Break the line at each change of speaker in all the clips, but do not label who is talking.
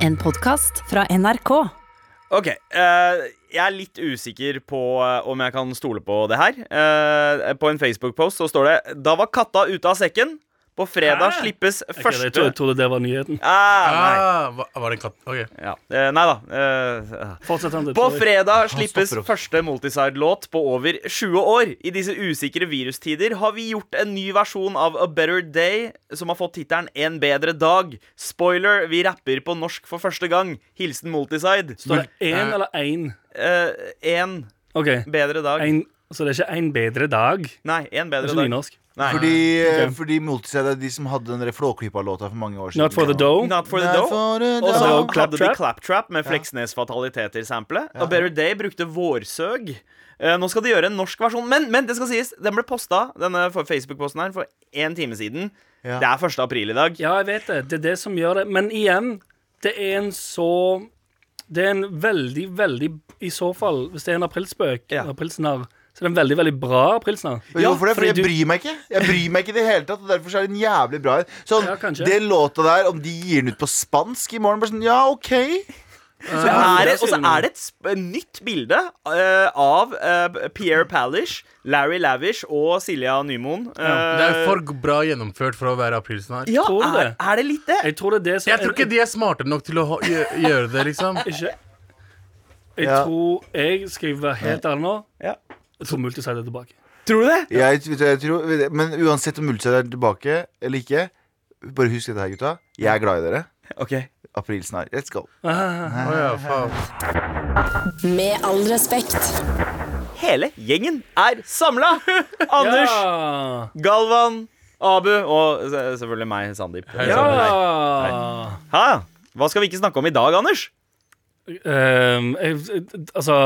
En podkast fra NRK.
Ok, eh, jeg er litt usikker på eh, om jeg kan stole på det her. Eh, på en Facebook-post så står det Da var katta ute av sekken. På fredag
Hæ?
slippes
Ok,
første
Jeg tro- jeg trodde det var nyheten.
ah,
Ah, hva- var det en katt? Ok.
nei. Ja. Eh, nei da. eh,
Fortsett, Anders.
På
Sorry.
fredag slippes
stopper opp.
første Multiside-låt på over 20 år. I disse usikre virustider har vi gjort en ny versjon av A Better Day, som har fått tittelen En bedre dag. Spoiler, vi rapper på norsk for første gang. Hilsen Multiside.
Står det én eller én?
Eh, en
OK.
bedre dag.
En, så det er ikke en bedre dag? Det
Nei, en
er
bedre
ikke
dag.
nynorsk.
Nei.
Fordi, eh, fordi Multiside er de som hadde den der Flåklypa-låta for mange år siden.
Not for the dough.
Not for the
Not
dough.
for the
Og så
dough.
Claptrap.
hadde de Claptrap med Fleksnes Fataliteter-samplet. Og Better Day brukte vårsøg. Eh, nå skal de gjøre en norsk versjon. Men, men det skal sies, den ble posta denne for- Facebook-posten her for én time siden.
Ja.
Det er 1. april i dag.
Ja, jeg vet det. Det er det som gjør det. Men igjen, det er en så Det er en veldig, veldig I så fall, hvis det er en aprilspøk,
Ja.
aprilsnarr, så er det en veldig, veldig bra aprilsnarr.
Vet du
Ja,
hvorfor det? Fordi
fordi
jeg
du-
bryr meg ikke. Jeg bryr meg ikke i det hele tatt, og derfor så er den jævlig bra. Sånn,
Ja, kanskje.
Den låta der, om de gir den ut på spansk i morgen, bare sånn, ja, ok.
Så er det,
det
og så
skulle man-
er det et sp nytt bilde eh, av eh, Pierre Palish, Larry Lavish og Silja Nymoen. Eh,
Det er for bra gjennomført for å være aprilsnarr.
ja,
Tror du
er,
det?
er det litt det?
Jeg tror det er det som
Jeg tror ikke de er smarte nok til å ha, gjø gjøre det, liksom.
Ikke Jeg
Ja.
tror jeg Skal jeg være helt ærlig nå?
Ja.
Jeg tror Multiside er tilbake.
Tror du det?
Jeg, vet du, jeg tror, men uansett om Multiside er tilbake eller ikke, bare husk dette her, gutta. Jeg er glad i dere.
Ok
Aprilsnarr. Let's go.
Å ja, faen.
Med all respekt.
Hele gjengen er samla! Anders,
Ja!
Galvan, Abu og se- selvfølgelig meg, Sandeep.
Hei,
ja.
Sandeep.
Hæ? Hva skal vi ikke snakke om i dag, Anders?
Ehm, jeg, altså,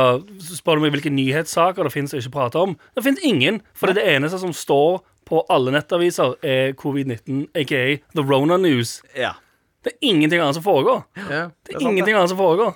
spør du meg hvilke nyhetssaker det fins å ikke prate om? Det fins ingen. For det eneste som står på alle nettaviser, er covid-19, aka The Rona News.
Ja.
Det er ingenting annet som foregår.
Ja.
Det
er
er
sant,
ingenting annet som foregår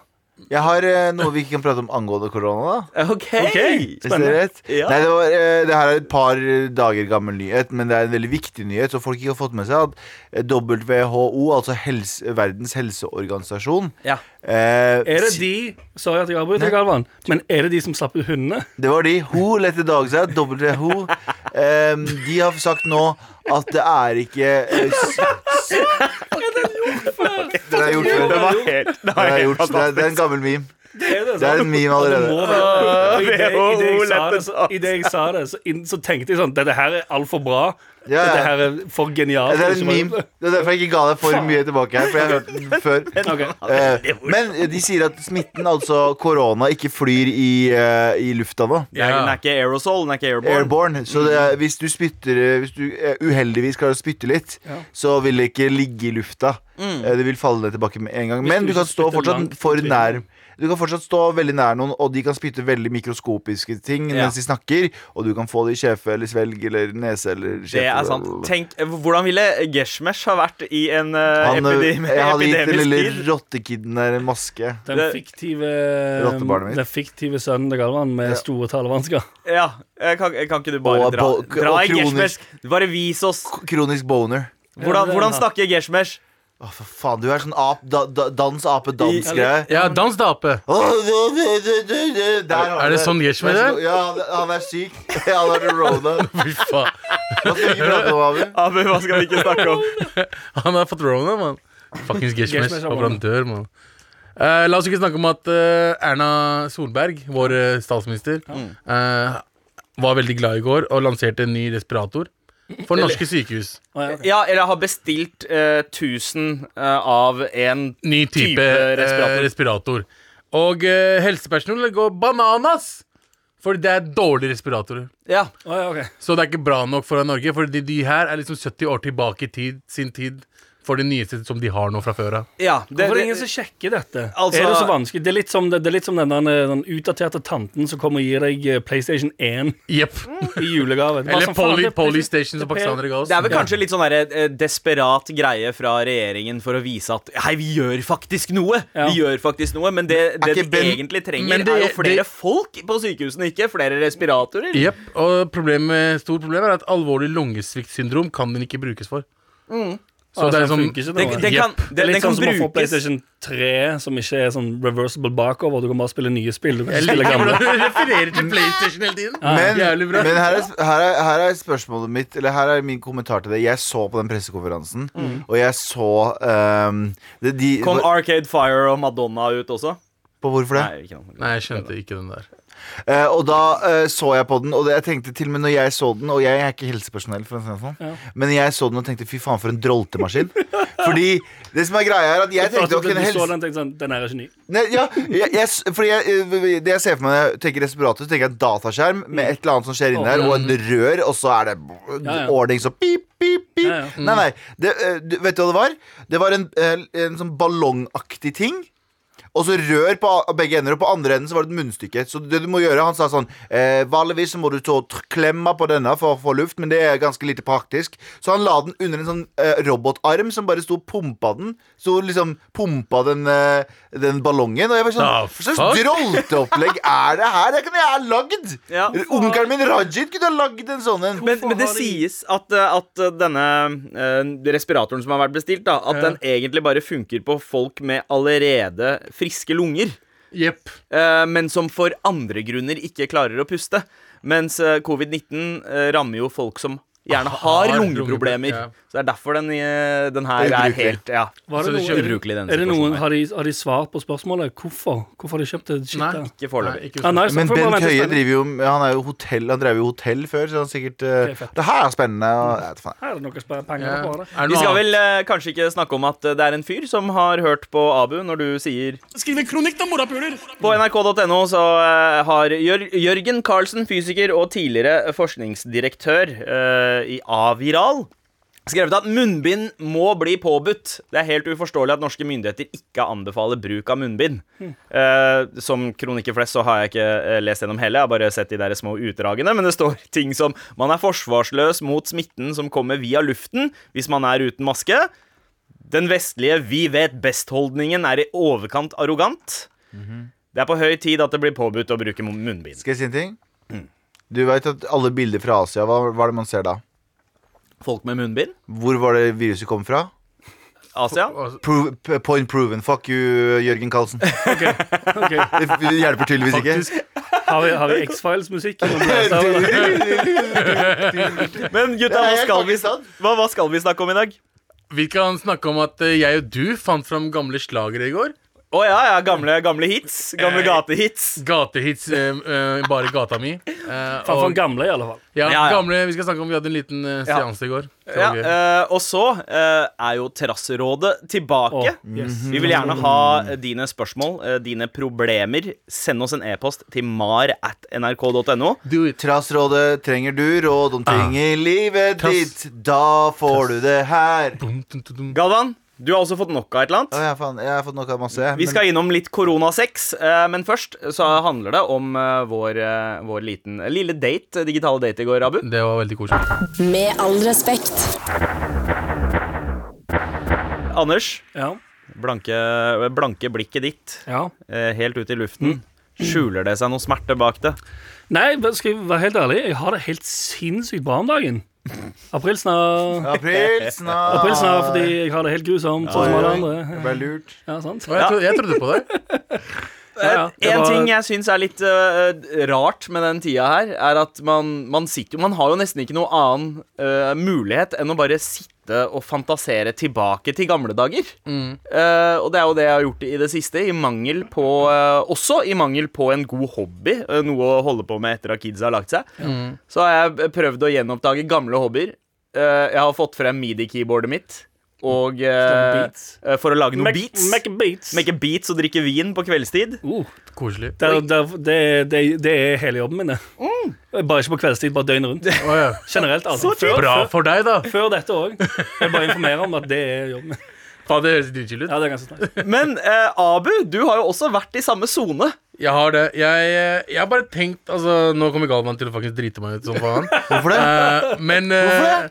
Jeg har eh, noe vi ikke kan prate om angående korona, da.
OK!
Hvis det er rett.
Ja.
Nei, det, var, eh, det her er et par dager gammel nyhet, men det er en veldig viktig nyhet. Så folk ikke har fått med seg at eh, WHO, altså helse, Verdens helseorganisasjon
Ja.
eh,
Er det de Sorry at jeg avbryter,
Nei.
Galvan. Men er det de som slapp ut hundene?
Det var de. Ho lette dag seg. WHO. Ehm, de har sagt nå at det er ikke eh, s- s- Den er gjort før.
Det var helt, det
Den
var
er
helt
gjort før. Det er- Det er en
fantastisk.
gammel meme.
Det altså. er det,
Det er en meme allerede.
Idet jeg sa det, så, inn- så tenkte jeg sånn Dette her er altfor bra.
Ja, ja.
Dette her er for genialt.
Det er en meme. Det er derfor jeg ikke ga deg for mye tilbake her, for jeg har hørt den før.
Ok.
Eh, men de sier at smitten, altså korona, ikke flyr i, eh, i lufta nå.
Ja. Den er ikke aerosol, den er ikke airborne.
Airborne. Så det er, hvis du spytter eh, Hvis du eh, uheldigvis klarer å spytte litt, så vil det ikke ligge i lufta. Eh, Det vil falle ned tilbake med en gang.
Mm. Hvis
Men
du
du kan
ikke
stå
spytter langt
fortsatt for
ut i
nær Du kan fortsatt stå veldig nær noen, og de kan spytte veldig mikroskopiske ting
Ja.
mens de snakker, og du kan få det i kjeve eller svelg eller nese eller kjeve.
Det er sant. Tenk, Hvordan ville Geshmesh ha vært i en eh,
Han, eh,
epidemi,
jeg hadde gitt den lille
epidemisk tid?
rottekiden der en maske.
Den
Det-
fiktive
Rottebarnet mitt.
Den fiktive sønnen til Galvan med
Ja.
store talevansker.
Ja, eh, kan, kan ikke du bare
Og
dra,
bo-
dra
og
i Geshmesh?
kronisk-
Bare vis oss.
Kronisk boner.
Hvordan,
det er
hvordan
han.
snakker Geshmesh?
Å, for faen, du er sånn ap, da, da, dans, ape, dans-greie.
ja dans da, ape. Er det sånn Yeshua er?
Ja, han- han er syk. Ja, han har rona.
Fy faen.
Hva skal vi ikke prate om, Abu?
Abu, hva skal vi ikke snakke om?
Han har fått rona, mann. Fuckings Gishmesh.
Gishmesh,
Håper han dør, mann. Eh, la oss ikke snakke om at eh, Erna Solberg, vår eh, statsminister, eh, var veldig glad i går og lanserte en ny respirator for norske sykehus.
Å, ja, ok.
Ja, eller har bestilt eh, 1000 eh, av en
Ny type,
Type
eh,
respirator.
respirator. Og eh, helsepersonell går bananas! For det er dårlige respiratorer.
Ja.
Å, ja, ok.
Så det er ikke bra nok for Norge, for de, de her er liksom 70 år tilbake i tid, sin tid for det nyeste som de har nå fra før av.
ja det,
Hvorfor er det ingen
det,
som sjekker dette?
Altså-
er det så vanskelig? Det er litt som, det, det er litt som den, der, eh, den utdaterte tanten som kommer og gir deg eh, PlayStation 1
Jepp.
Mm,
i julegave. Det er bare
Eller
sånn, faen,
Poli-
det er PlayStation-
Polystation,
det
som
er P-
pakistanere ga oss.
det er vel kanskje litt sånn der, eh, desperat greie fra regjeringen for å vise at Hei, vi gjør faktisk noe!
Ja.
Vi gjør faktisk noe, Men det, det de
ikke Ben-
egentlig trenger,
Men det-
er jo flere
det-
folk på sykehusene, ikke flere respiratorer.
Jepp.
Mm.
Og problemet, stort problem er sånn- at alvorlig lungesviktsyndrom kan den ikke brukes for. Så det er
Altså,
som-
funker ikke til
Den,
noe.
den kan,
sånn Det er
den, den
litt
kan
sånn som å få
brukes
PlayStation 3, som ikke er sånn reversible bakover. Du kan bare spille nye spill. Du kan ikke spille
Hvordan
gamle.
du refererer til PlayStation hele tiden.
Men,
Jævlig bra.
men her, er, her, er, her er spørsmålet mitt Eller her er min kommentar til det. Jeg så på den pressekonferansen,
Mm.
og jeg så ehm, det, de,
Kom
hva-
Arcade Fire og Madonna ut også?
på Hvorfor det?
Nei, ikke noe.
Nei, jeg skjønte ikke den der.
Eh, og da eh, så jeg på den, og det, jeg tenkte til og med når jeg så den Og jeg er ikke helsepersonell, for å si det sånn, men jeg så den og tenkte fy faen, for en droltemaskin. Fordi det som er greia, er at jeg tenkte
Altså,
ok,
du
en
så
helse...
den tenkte sånn Den her er ikke ny.
Nei, ja, jeg, jeg, fordi jeg, eh, det jeg ser for meg når jeg tenker respirator, så tenker jeg en dataskjerm med et eller annet som skjer inni der, og en rør, og så er det
Mm. Ja, ja.
ordning så pip, pip, pip.
Ja, Mm. ja.
Nei, nei. Det, eh, du- vet du hva det var? Det var en, eh, en sånn ballongaktig ting. Og så rør på a- begge ender, og på andre enden så var det et munnstykke. Så det du må gjøre, han sa sånn eh, Vanligvis så må du så tr- klemme på denne for å få luft, men det er ganske lite praktisk. Så han la den under en sånn eh, robotarm som bare sto og pumpa den. Så liksom pumpa den, eh, den ballongen. Og jeg var sånn Hva
Da, fuck.
slags drolteopplegg er det her? Det kunne jeg ha lagd!
Ja.
Onkelen min Rajid kunne ha lagd en sånn en.
Men, men det sies at, eh, at eh, denne eh, respiratoren som har vært bestilt, da, at den egentlig bare funker på folk med allerede friske lunger.
Jepp.
eh, men som for andre grunner ikke klarer å puste. Mens eh, covid-19 eh, rammer jo folk som gjerne har
Har lungeproblem,
lungeproblemer.
ja.
Så det er derfor den, eh, den her
Det er
er
ubrukelig.
helt ja.
Var
Så
det noe-
det er ikke
ubrukelig i denne
er det
situasjonen
noen,
her.
har, de, har de svart på spørsmålet? Hvorfor Hvorfor har de kjøpt det
Nei.
skittet?
Ikke foreløpig.
Nei, ikke
Ah, nice.
Men
Får
Bent
man vente
Høie
spennende?
driver jo Han, er jo hotell, han drev jo hotell før, så han sikkert eh,
Ok, fett.
Det her er spennende. Og, jeg vet faen.
Her er det noe å spare penger
Ja.
på.
Er
det.
Vi
det noe
skal
annet?
vel eh, kanskje ikke snakke om at eh, det er en fyr som har hørt på Abu når du sier
Skriv en kronikk, da, morapuler!
På nrk.no så eh, har Jør Jørgen Karlsen, fysiker og tidligere forskningsdirektør eh, i Aviral, skrevet at munnbind må bli påbudt. Det er helt uforståelig at norske myndigheter ikke anbefaler bruk av munnbind. Eh, som kronikker flest så har jeg ikke eh, lest gjennom hele, jeg har bare sett de der små utdragene, men det står ting som man er forsvarsløs mot smitten som kommer via luften hvis man er uten maske. Den vestlige vi vet best-holdningen er i overkant arrogant. Det er på høy tid at det blir påbudt å bruke munnbind.
Skal jeg si en ting? Du veit at alle bilder fra Asia, hva var det man ser da?
Folk med munnbind?
Hvor var det viruset kom fra?
Asia?
Pro p- point proven. Fuck you, Jørgen Karlsen.
Ok.
Det f- hjelper tydeligvis ikke.
Har vi, har vi X-Files-musikk?
Men gutta,
Nei,
hva
jeg
skal,
kan
vi,
ikke sant.
hva, hva skal vi snakke om i dag?
Vi kan snakke om at eh, jeg og du fant fram gamle slagere i går.
Å ja, ja, gamle, gamle hits. Gamle gatehits.
Gatehits, eh, eh, bare gata mi. Eh,
Faen for
og,
en gamle, i alle fall.
ja,
Ja, ja.
gamle, Vi skal snakke om vi hadde en liten eh,
Ja.
seanse i går. Det
Ja,
var gøy.
eh, og så eh, er jo Terrasserådet tilbake.
Å, yes.
Vi vil gjerne ha eh, dine spørsmål, eh, dine problemer. Send oss en e-post til mar at nrk.no.
Do it.
Trassrådet trenger du råd om ting i livet
Trass.
ditt. Da får du det her.
Dum, dum, dum, dum.
Galvan, du har også fått nok av et eller annet.
Å, jeg, faen, jeg har fått nok av masse.
Vi
men-
skal innom litt koronasex, eh, men først så handler det om eh, vår, eh, vår liten, lille date, eh, digitale date i går, Abu.
Det var veldig koselig.
Med all respekt.
Anders,
Ja.
blanke, blanke blikket ditt
ja.
eh, helt ut i luften. Skjuler det seg noe smerte bak det?
Nei, men skal jeg være helt ærlig, jeg har det helt sinnssykt bra om dagen. April snart.
April snart.
April snart, fordi jeg har det helt grusomt, sånn som alle andre.
Det ble lurt.
Ja, sant?
Og jeg, trodde, jeg trodde på deg.
Ja, ja. Det
En
var-
ting jeg syns er litt eh, rart med den tida her, er at man, man sitter jo Man har jo nesten ikke noe annen eh, mulighet enn å bare sitte og fantasere tilbake til gamle dager.
Mm.
Eh, og det er jo det jeg har gjort i det siste, i mangel på eh, Også i mangel på en god hobby, eh, noe å holde på med etter at kidsa har lagt seg.
Mm.
Så har jeg prøvd å gjenoppdage gamle hobbyer. Eh, jeg har fått frem midi-keyboardet mitt. Og eh,
Sånn beats.
eh, for å lage noen
Mac-
beats.
Mac beats.
Make beats og drikke vin på kveldstid.
Uh,
Koselig.
det, er- det, er- det, er- det, er- det er hele jobben min, det. Bare ikke på kveldstid, bare døgnet rundt.
Å, ja.
Generelt, altså. Før,
Bra
før,
for deg, da.
før dette òg. Jeg bare informerer om at det er jobben min.
Faen, det høres dritchill ut.
Ja, det er ganske snart.
Men eh, Abu, du har jo også vært i samme sone.
Jeg har det. Jeg, eh, jeg har bare tenkt Altså, nå kommer Galvan til å faktisk drite meg ut som faen.
Hvorfor det?
Eh, men eh,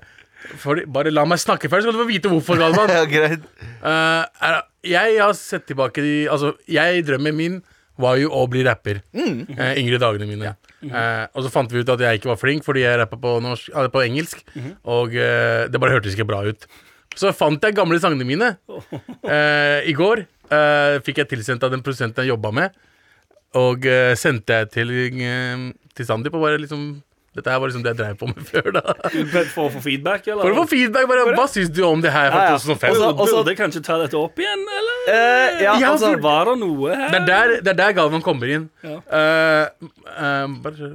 fordi, Bare la meg snakke først, så skal du få vite hvorfor, Galvan.
Ja, greit.
Eh, er, jeg har sett tilbake de Altså, jeg drømmen min var jo å bli rapper.
Mm.
Eh, yngre dagene mine. Eh, og så fant vi ut
Mhm.
at jeg ikke var flink fordi jeg rappa på, norsk, eh, på engelsk. Og eh, det bare hørtes ikke bra ut. Så fant jeg gamle sangene mine eh, i går. eh, fikk jeg tilsendt av den produsenten jeg jobba med. Og eh, sendte jeg til, eh, til Sandeep og bare liksom Dette her var liksom det jeg dreiv på med før, da.
For å få feedback, eller?
For å få feedback. bare, Hva syns du om det her fra
Ja, ja.
2005?
Også-
Burde jeg kanskje ta dette opp igjen, eller? Mm.
Eh, ja,
Ja,
altså
for-
Var det noe her?
Det er der, det er der Galvan kommer inn.
Ja.
Eh, eh, bare,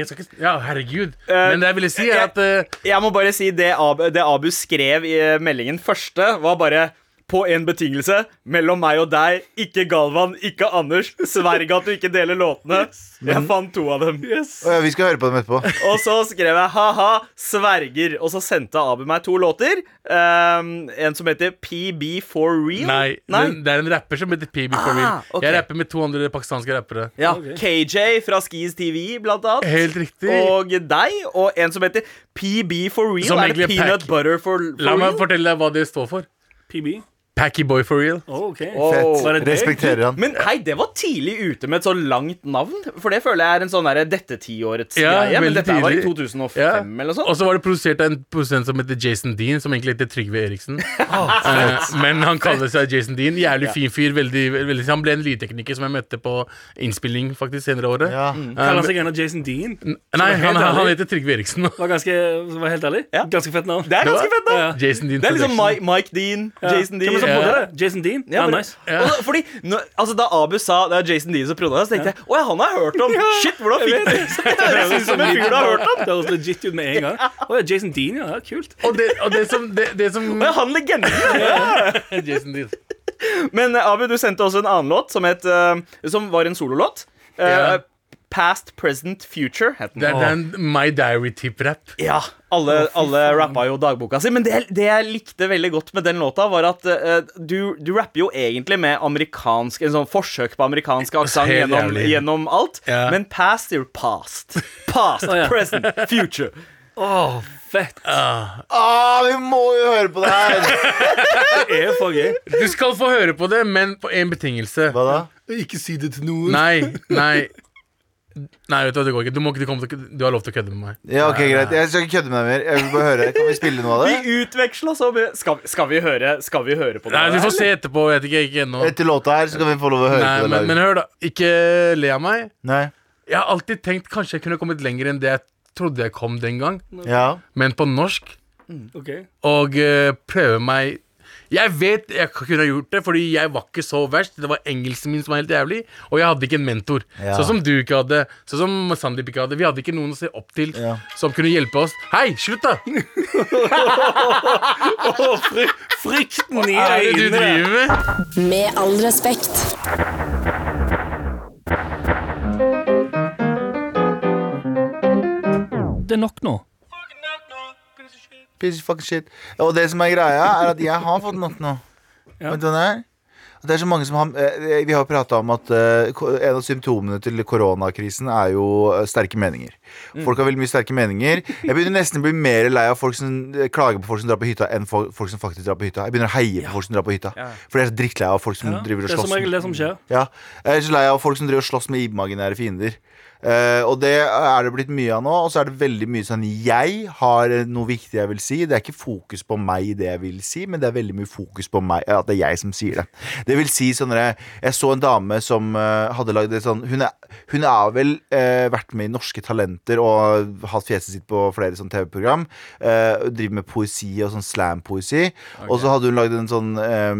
jeg skal ikke Ja, herregud.
Eh,
Men det jeg ville si, er at eh,
Jeg må bare si det Ab- det Abu skrev i eh, meldingen første, var bare på en betingelse. Mellom meg og deg, ikke Galvan, ikke Anders. Sverg at du ikke deler låtene. Jeg fant to av dem.
Å ja, vi skal høre på dem etterpå.
Og så skrev jeg ha-ha, sverger. Og så sendte Abu meg to låter. ehm, en som heter PB4 Real.
Nei, men Det er en rapper som heter PB for
Ah,
real.
ok.
Jeg rapper med to andre pakistanske rappere.
Ja,
Ok.
KJ fra Skis TV, blant annet.
Helt riktig.
Og deg, og en som heter PB4 Real.
Som
er det
egentlig er
peanut
pack.
butter for, for
La meg
real?
fortelle deg hva det står for.
PB?
Packy boy for real.
Å, OK.
Wow.
Var det deg?
Respekterer han.
Men hei, det var tidlig ute med et så langt navn. For det føler jeg er en sånn derre dette tiårets
Ja,
greie. Men
veldig
dette her var i
tidlig.
2005
Ja.
eller sånn. noe sånt.
Og så var det produsert av en produsent som heter Jason Dean, som egentlig heter Trygve Eriksen.
Ah,
Eh, men han kaller seg Jason Dean. Jævlig fin fyr. Veldig, veldig, han ble en lydtekniker som jeg møtte på innspilling faktisk senere året.
Ja.
Eh,
Kaller han seg gjerne Jason Dean?
Mm.
Nei,
helt
han, han
ærlig.
heter Trygve Eriksen.
Var ganske, var helt ærlig?
Ja.
Ganske fett navn.
Det er ganske fett, da.
Ja.
Jason Dean
Det er liksom Mike,
Production.
Mike Dean, Jason Dean.
Hvem er det som
Ja.
bodde der? Jason Dean?
Ja,
Ja,
men-
nice.
Og så- fordi nå, altså, Da Abu sa det er Jason Dean som prøvde det, så tenkte jeg å ja, han har jeg hørt om. Shit, hvordan fikk det Så Det høres ut som en fyr du har hørt om.
Det høres legit ut med en gang. Å ja, Jason Dean, ja. ja, Kult.
Og det, og det som, det, det som
Men han legenden.
Jason Dean.
Men eh, Abu, du sendte også en annen låt som, het, eh, som var en sololåt. Eh,
Ja.
Past, Present, Future het den.
Det er, det er en My Diary-tipp-rapp.
Ja, alle, alle rappa jo dagboka si. Men det, det jeg likte veldig godt med den låta, var at eh, du, du rapper jo egentlig med amerikansk En sånn forsøk på amerikansk aksent
Helt
gjennom,
jævlig.
gjennom alt.
Ja.
Men past your past. Past,
Å, ja.
present, future.
Å, fett.
Ah, vi må jo høre på det her!
Det er for gøy.
Du skal få høre på det, men på en betingelse.
Hva da?
Ikke si det til noen.
Nei, nei. Nei, vet du hva, det går ikke. Du, må ikke du, kommer til, å- du har lov til å kødde med meg.
Ja, ok, greit. Jeg skal ikke kødde med deg mer. Jeg vil bare høre. Kan vi spille noe av det?
Vi utveksla så mye skal, skal, vi høre- skal vi høre på det?
Nei, Du
her,
får se etterpå. Jeg vet ikke, ikke ennå.
Etter låta her så kan vi få lov å høre
Nei,
på det
men, men
live.
hør, da. Ikke le av meg.
Nei.
Jeg har alltid tenkt kanskje jeg kunne kommet lenger enn det jeg trodde jeg kom den gang,
Ja.
men på norsk.
OK.
Og eh, prøve meg Jeg vet jeg kunne ha gjort det, fordi jeg var ikke så verst. Det var engelsken min som var helt jævlig, og jeg hadde ikke en mentor.
Ja.
Sånn som du ikke hadde, sånn som Sandeep ikke hadde. Vi hadde ikke noen å se opp til
Ja.
som kunne hjelpe oss. Hei, slutt, da!
Frykten i
Hva er det du
øynene.
driver med?
Med all respekt.
Det er nok nå.
Piece of fucking shit. Og det som er greia, er at jeg har fått nok nå.
Ja.
Vet du hva det er? At Det er så mange som har, eh, vi har prata om at eh, ko- en av symptomene til koronakrisen er jo eh, sterke meninger.
Mm.
Folk har veldig mye sterke meninger. Jeg begynner nesten å bli mer lei av folk som eh, klager på folk som drar på hytta, enn fo- folk som faktisk drar på hytta. Jeg begynner å heie på folk som drar på hytta.
Ja.
For jeg er så drittlei av folk som
Ja. Det er
driver og
som
slåss.
regel det som skjer.
Ja, jeg er så lei av folk som driver og slåss med imaginære fiender. Eh, og det er det blitt mye av nå. Og så er det veldig mye sånn Jeg har noe viktig jeg vil si. Det er ikke fokus på meg i det jeg vil si, men det er veldig mye fokus på meg at det er jeg som sier det. Det vil si sånn jeg, jeg så en dame som eh, hadde lagd et sånn Hun er, hun er vel eh, vært med i Norske Talenter og hatt fjeset sitt på flere sånn TV-program. Eh, driver med poesi og sånn slam-poesi. Og så hadde hun lagd en sånn eh,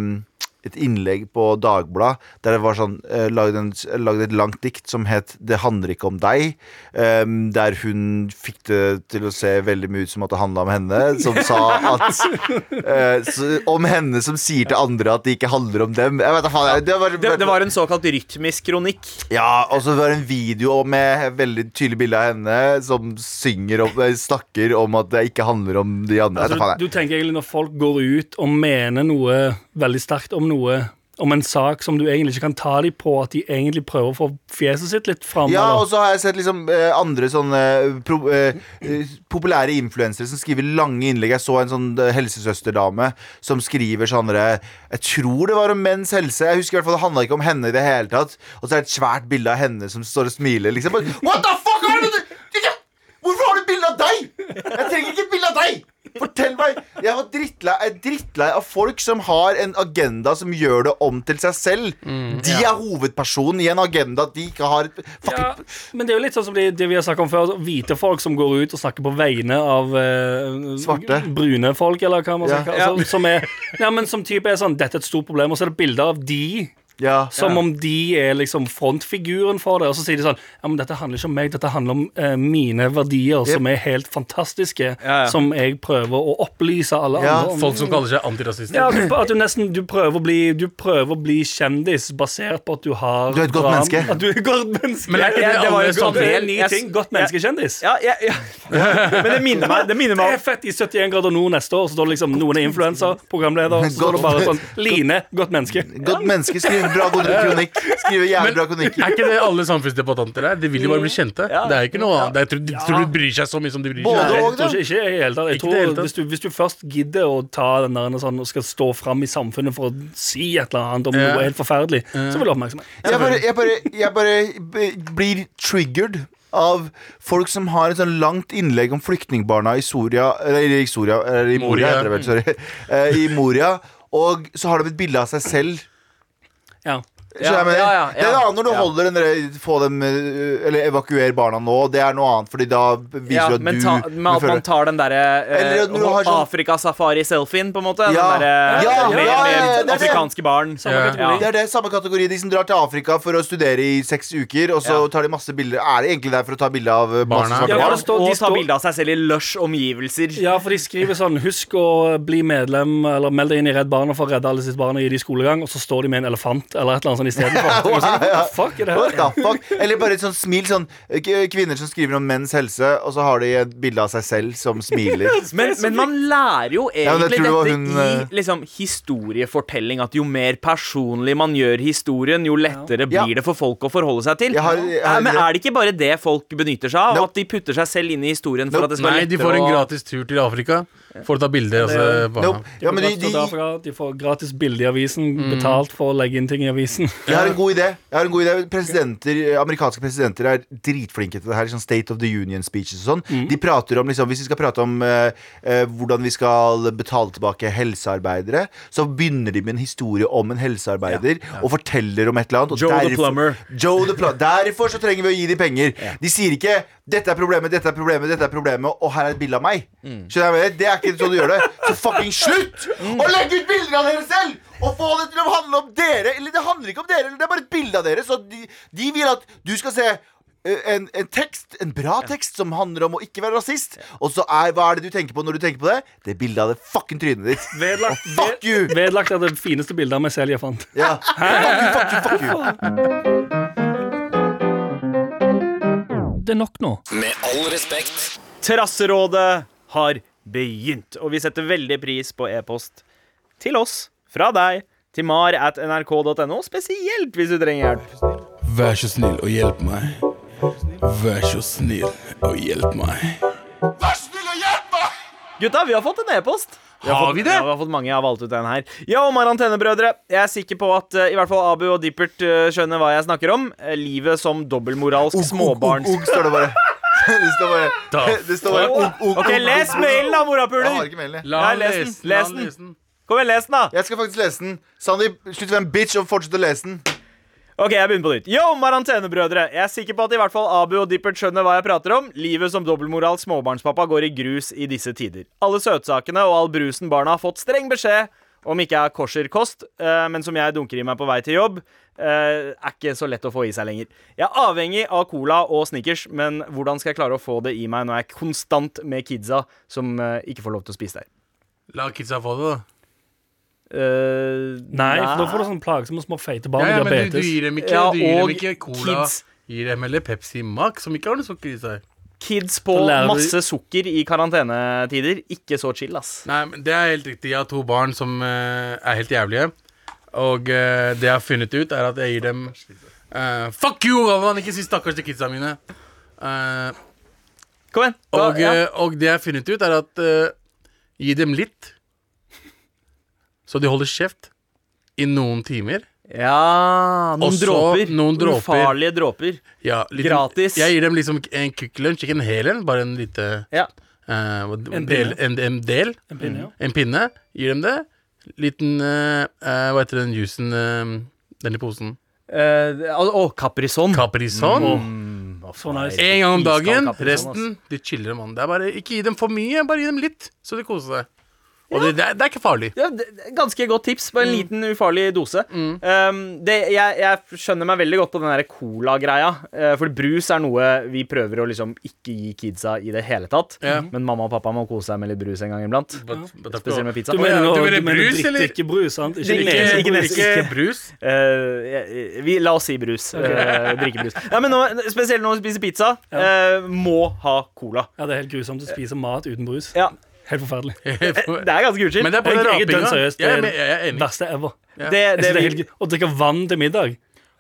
et innlegg på Dagblad der det var sånn eh, lagde, en, lagde et langt dikt som het 'Det handler ikke om deg', em, der hun fikk det til å se veldig mye ut som at det handla om henne, som sa at eh, så, Om henne som sier til andre at det ikke handler om dem. Jeg vet da faen. jeg- Det var,
Det, det var en såkalt rytmisk kronikk.
ja, og så var det en video med veldig tydelig bilde av henne som synger om, eh, snakker om at det ikke handler om de andre. Jeg vet da faen,
Altså,
jeg.
du tenker egentlig når folk går ut og mener noe veldig sterkt om noe om en sak som du egentlig ikke kan ta dem på, at de egentlig prøver å få fjeset sitt litt fram.
Ja,
eller-
og så har jeg sett liksom eh, andre sånne eh, pro, eh, eh, populære influensere som skriver lange innlegg. Jeg så en sånn eh, helsesøsterdame som skriver sånn derre Jeg tror det var om menns helse. Jeg husker i hvert fall Det handla ikke om henne i det hele tatt. Og så er det et svært bilde av henne som står og smiler. Liksom. Bare, What the fuck er det du- Ikke- Hvorfor har du bilde av deg? Jeg trenger ikke et bilde av deg! For Fortell meg! Jeg var drittlei, jeg er drittlei av folk som har en agenda som gjør det om til seg selv. de er hovedpersonen i en agenda de ikke har Fuck,
Ja, men det er jo litt sånn som det, det vi har snakket om før. altså, Hvite folk som går ut og snakker på vegne av eh,
Svarte.
brune folk, eller hva man
Ja.
skal kalle altså, som er, ja, men som type er sånn Dette er et stort problem. Og så er det bilder av de.
ja.
Som om de er liksom frontfiguren for det. Og så sier de sånn Ja, men dette handler ikke om meg, dette handler om eh, mine verdier, som er helt fantastiske,
ja.
som jeg prøver å opplyse alle
Ja,
andre om.
Folk som kaller seg antirasister.
Ja, at du- at du nesten du prøver, å bli, du prøver å bli kjendis basert på at du har
Du er et godt
bra-
menneske.
At du er et godt menneske.
Men er ikke det
Ja,
alle
jo godt-
samfunn?
det er en ny
Jeg s-
ting. Godt menneske-kjendis.
Ja, ja, ja. Men det minner meg, det minner
Det
meg
er
om
fett i 71 grader nord neste år, så da er det liksom noen er influenser, programleder, så
Godt-
står det bare sånn Line, godt menneske.
Godt menneske skriver bra god kronikk. Skriver jævlig bra kronikk.
Er ikke det alle samfunnsdebattanter er? De vil jo bare bli kjente. Det er jo ikke noe annet. Jeg tror, de, tror de bryr seg så mye som de bryr
Både
seg.
Nei,
og,
jeg tror
da.
ikke, ikke i det hele tatt. Jeg
Ikke i det hele
tror
tatt.
hvis du, hvis du først gidder å ta den der sånn, og skal stå fram i samfunnet for å si et eller annet om
Ja.
noe helt forferdelig, så vil du ha oppmerksomhet.
Jeg bare, jeg bare, jeg bare b- blir triggered av folk som har et sånn langt innlegg om flyktningbarna i Soria Eller i Soria, eller i Moria,
Moria.
heter det vel, sorry. Eh, I Moria. Og så har de et bilde av seg selv.
Ja.
Så jeg mener,
ja, ja,
Det er noe
ja.
annet når du
Ja.
holder den der, få dem, eh, eller evakuer barna nå. Det er noe annet, fordi da viser
ja,
du at
men
du
ta, med at man
føler-
tar den derre
Eller at du har
eh,
sånn-
Afrika-safari-selfien, på en måte. Den
Ja.
derre eh,
Ja,
med,
ja, ja,
med
ja, det er det.
afrikanske barn.
Samme
Ja.
kategori.
Det er det samme kategori. De som drar til Afrika for å studere i seks uker, og så
Ja.
tar de masse bilder. Er det egentlig der for å ta bilde av eh, masse
Barna.
svarte
Ja,
barn?
det står- de
og ta
står-
bilde av seg selv i lush omgivelser.
Ja, for de skriver sånn Husk å bli medlem Eller meld deg inn i Redd Barna for å redde alle sitt barn i de skolegang Og så står de med en elefant Eller et eller annet sånt i stedet for Og sånn, What the fuck er det
What
her?
the fuck? Eller bare et sånt smil. Sånn, k- kvinner som skriver om menns helse, og så har de et bilde av seg selv som smiler.
Men, men man lærer jo
men jeg
egentlig
tror det var
dette
hun, eh,
i liksom, historiefortelling. At jo mer personlig man gjør historien, jo lettere
Ja.
blir det for folk å forholde seg til.
Jeg har- jeg har-
Eh, men er det ikke bare det folk benytter seg av?
Nope.
At de putter seg selv inn i historien
Nope.
for at det skal
Nei,
være
de
lettere
får en
å-
gratis tur til Afrika for å ta bilder. Altså, barna.
Nope. Ja, men de, de,
de, får gratis bilde i avisen
Mm.
Betalt for å legge inn ting i avisen
jeg har en god idé. Jeg har en god idé Presidenter, Amerikanske presidenter er dritflinke til det her. Sånn State of the Union-speeches og sånn.
Mm.
De prater om liksom, Hvis vi skal prate om eh, eh, hvordan vi skal betale tilbake helsearbeidere, så begynner de med en historie om en helsearbeider og forteller om et eller annet. Og
Joe the
derfor-
Plumber.
Joe the Plumber. Derfor så trenger vi å gi de penger. De sier ikke 'dette er problemet, dette er problemet, dette er problemet', og her er et bilde av meg. Skjønner jeg hva jeg mener? Det er ikke sånn du gjør det. Så fucking slutt å legge ut bilder av dere selv! Og få det til å handle om dere. Eller det handler ikke om dere, eller det er bare et bilde av dere. Så de, de vil at du skal se eh, en, en tekst, en bra tekst som handler om å ikke være rasist. Og så er hva er det du tenker på når du tenker på det? Det er bildet av det fucking trynet ditt.
Vedlagt,
Fuck you!
vedlagt er det fineste bildet av meg selv jeg fant
Ja. Fuck you, fuck you, fuck you.
Det er nok nå
Med all respekt.
Terrasserådet har begynt, og vi setter veldig pris på e-post til oss fra deg til mar at nrk.no, spesielt hvis du trenger hjelp.
Vær så snill og hjelp meg. Vær så snill og hjelp meg.
Gutta, vi har fått en e-post.
Har vi det?
Ja, vi har fått mange. Jeg har valgt ut en her. Ja, om Arantenebrødre. Jeg er sikker på at eh, i hvert fall Abu og Dippert eh, skjønner hva jeg snakker om. Eh, livet som dobbeltmoralsk småbarns...
Ugg står det bare. Det står bare, det står bare ugg, ugg,
OK,
ugg,
les
ugg, ugg.
mailen, da,
Jeg har
morapuler!
ikke mailen, jeg.
La
Nei,
han
les den, les
la han
den.
lese den.
Kom igjen, les den, da!
Jeg skal faktisk lese den. Sandeep, slutt å være en bitch og fortsett å lese den.
Ok, jeg begynner på nytt. Yo, Marantenebrødre! Jeg er sikker på at i hvert fall Abu og Dippert skjønner hva jeg prater om. Livet som dobbeltmoral småbarnspappa går i grus i disse tider. Alle søtsakene og all brusen barna har fått streng beskjed om ikke er kosherkost, eh, men som jeg dunker i meg på vei til jobb, eh, er ikke så lett å få i seg lenger. Jeg er avhengig av cola og snickers, men hvordan skal jeg klare å få det i meg når jeg er konstant med kidsa som eh, ikke får lov til å spise der?
La kidsa få det, da.
Eh,
Nei, for da får du sånn plagsomme små feite barn
Ja, ja,
med
men du, du
diabetes
gir dem ikke,
Ja,
du gir
og
dem ikke cola.
kids.
Gir dem heller Pepsi Max, som ikke har noe sukker i seg.
Kids på
Da lærer du-
masse sukker i karantenetider. Ikke så chill, ass.
Nei, men Det er helt riktig. Jeg har to barn som eh, er helt jævlige. Og eh, det jeg har funnet ut, er at jeg gir dem eh, Fuck you, Galvan! Ikke si stakkars til kidsa mine. Eh,
Kom igjen. Da-
og,
ja.
eh, og det jeg har funnet ut, er at eh, gi dem litt, så de holder kjeft i noen timer.
Ja, noen
Og så
dråper.
noen dråper.
Ufarlige dråper.
Ja, litt-
Gratis.
Jeg gir dem liksom en quick lunch, ikke en hel en, bare en lite
Ja.
eh, hva-
En
del,
pinne.
en, en del.
En pinne, ja.
En pinne. Gir dem det. Liten eh, eh, Hva heter den juicen? eh, den i posen?
Eh, Å, Caprison.
Caprison.
Så
Sånn
nice.
En gang
Mm.
om
Iskald
dagen.
Caprison,
Resten, du chiller, mann. Det er bare, ikke gi dem for mye, bare gi dem litt, så de koser seg. Og det, det, er, det er ikke farlig.
Ja, det- det er ganske godt tips på en liten, ufarlig dose.
Mm.
Um, det, jeg, jeg skjønner meg veldig godt på den der cola-greia. eh, For brus er noe vi prøver å liksom ikke gi kidsa i det hele tatt.
Ja.
Men mamma og pappa må kose seg med litt brus en gang iblant. Spesielt med pizza.
Du mener,
Å, ja,
nå-
du mener
du mener
brus,
drikke
eller?
ikke brus, sant? Ikke
Drikke-
lese
ikke,
brus.
ikke, ikke brus.
Eh, vi, la oss si brus. Eh, drikke brus. Ja, men nå, spesielt når man spiser pizza. eh, må ha cola.
Ja, det er helt grusomt å spise mat uten brus.
Ja,
Helt forferdelig.
det er ganske utskilt.
Eh, Men det er på
Jeg,
den
jeg er dønn
rapinga.
seriøst. eh, Det
Jeg er
er
med- jeg er
det
enig.
verste ever.
Det-
Jeg synes
det
det er
vil-
helt, å drikke vann til middag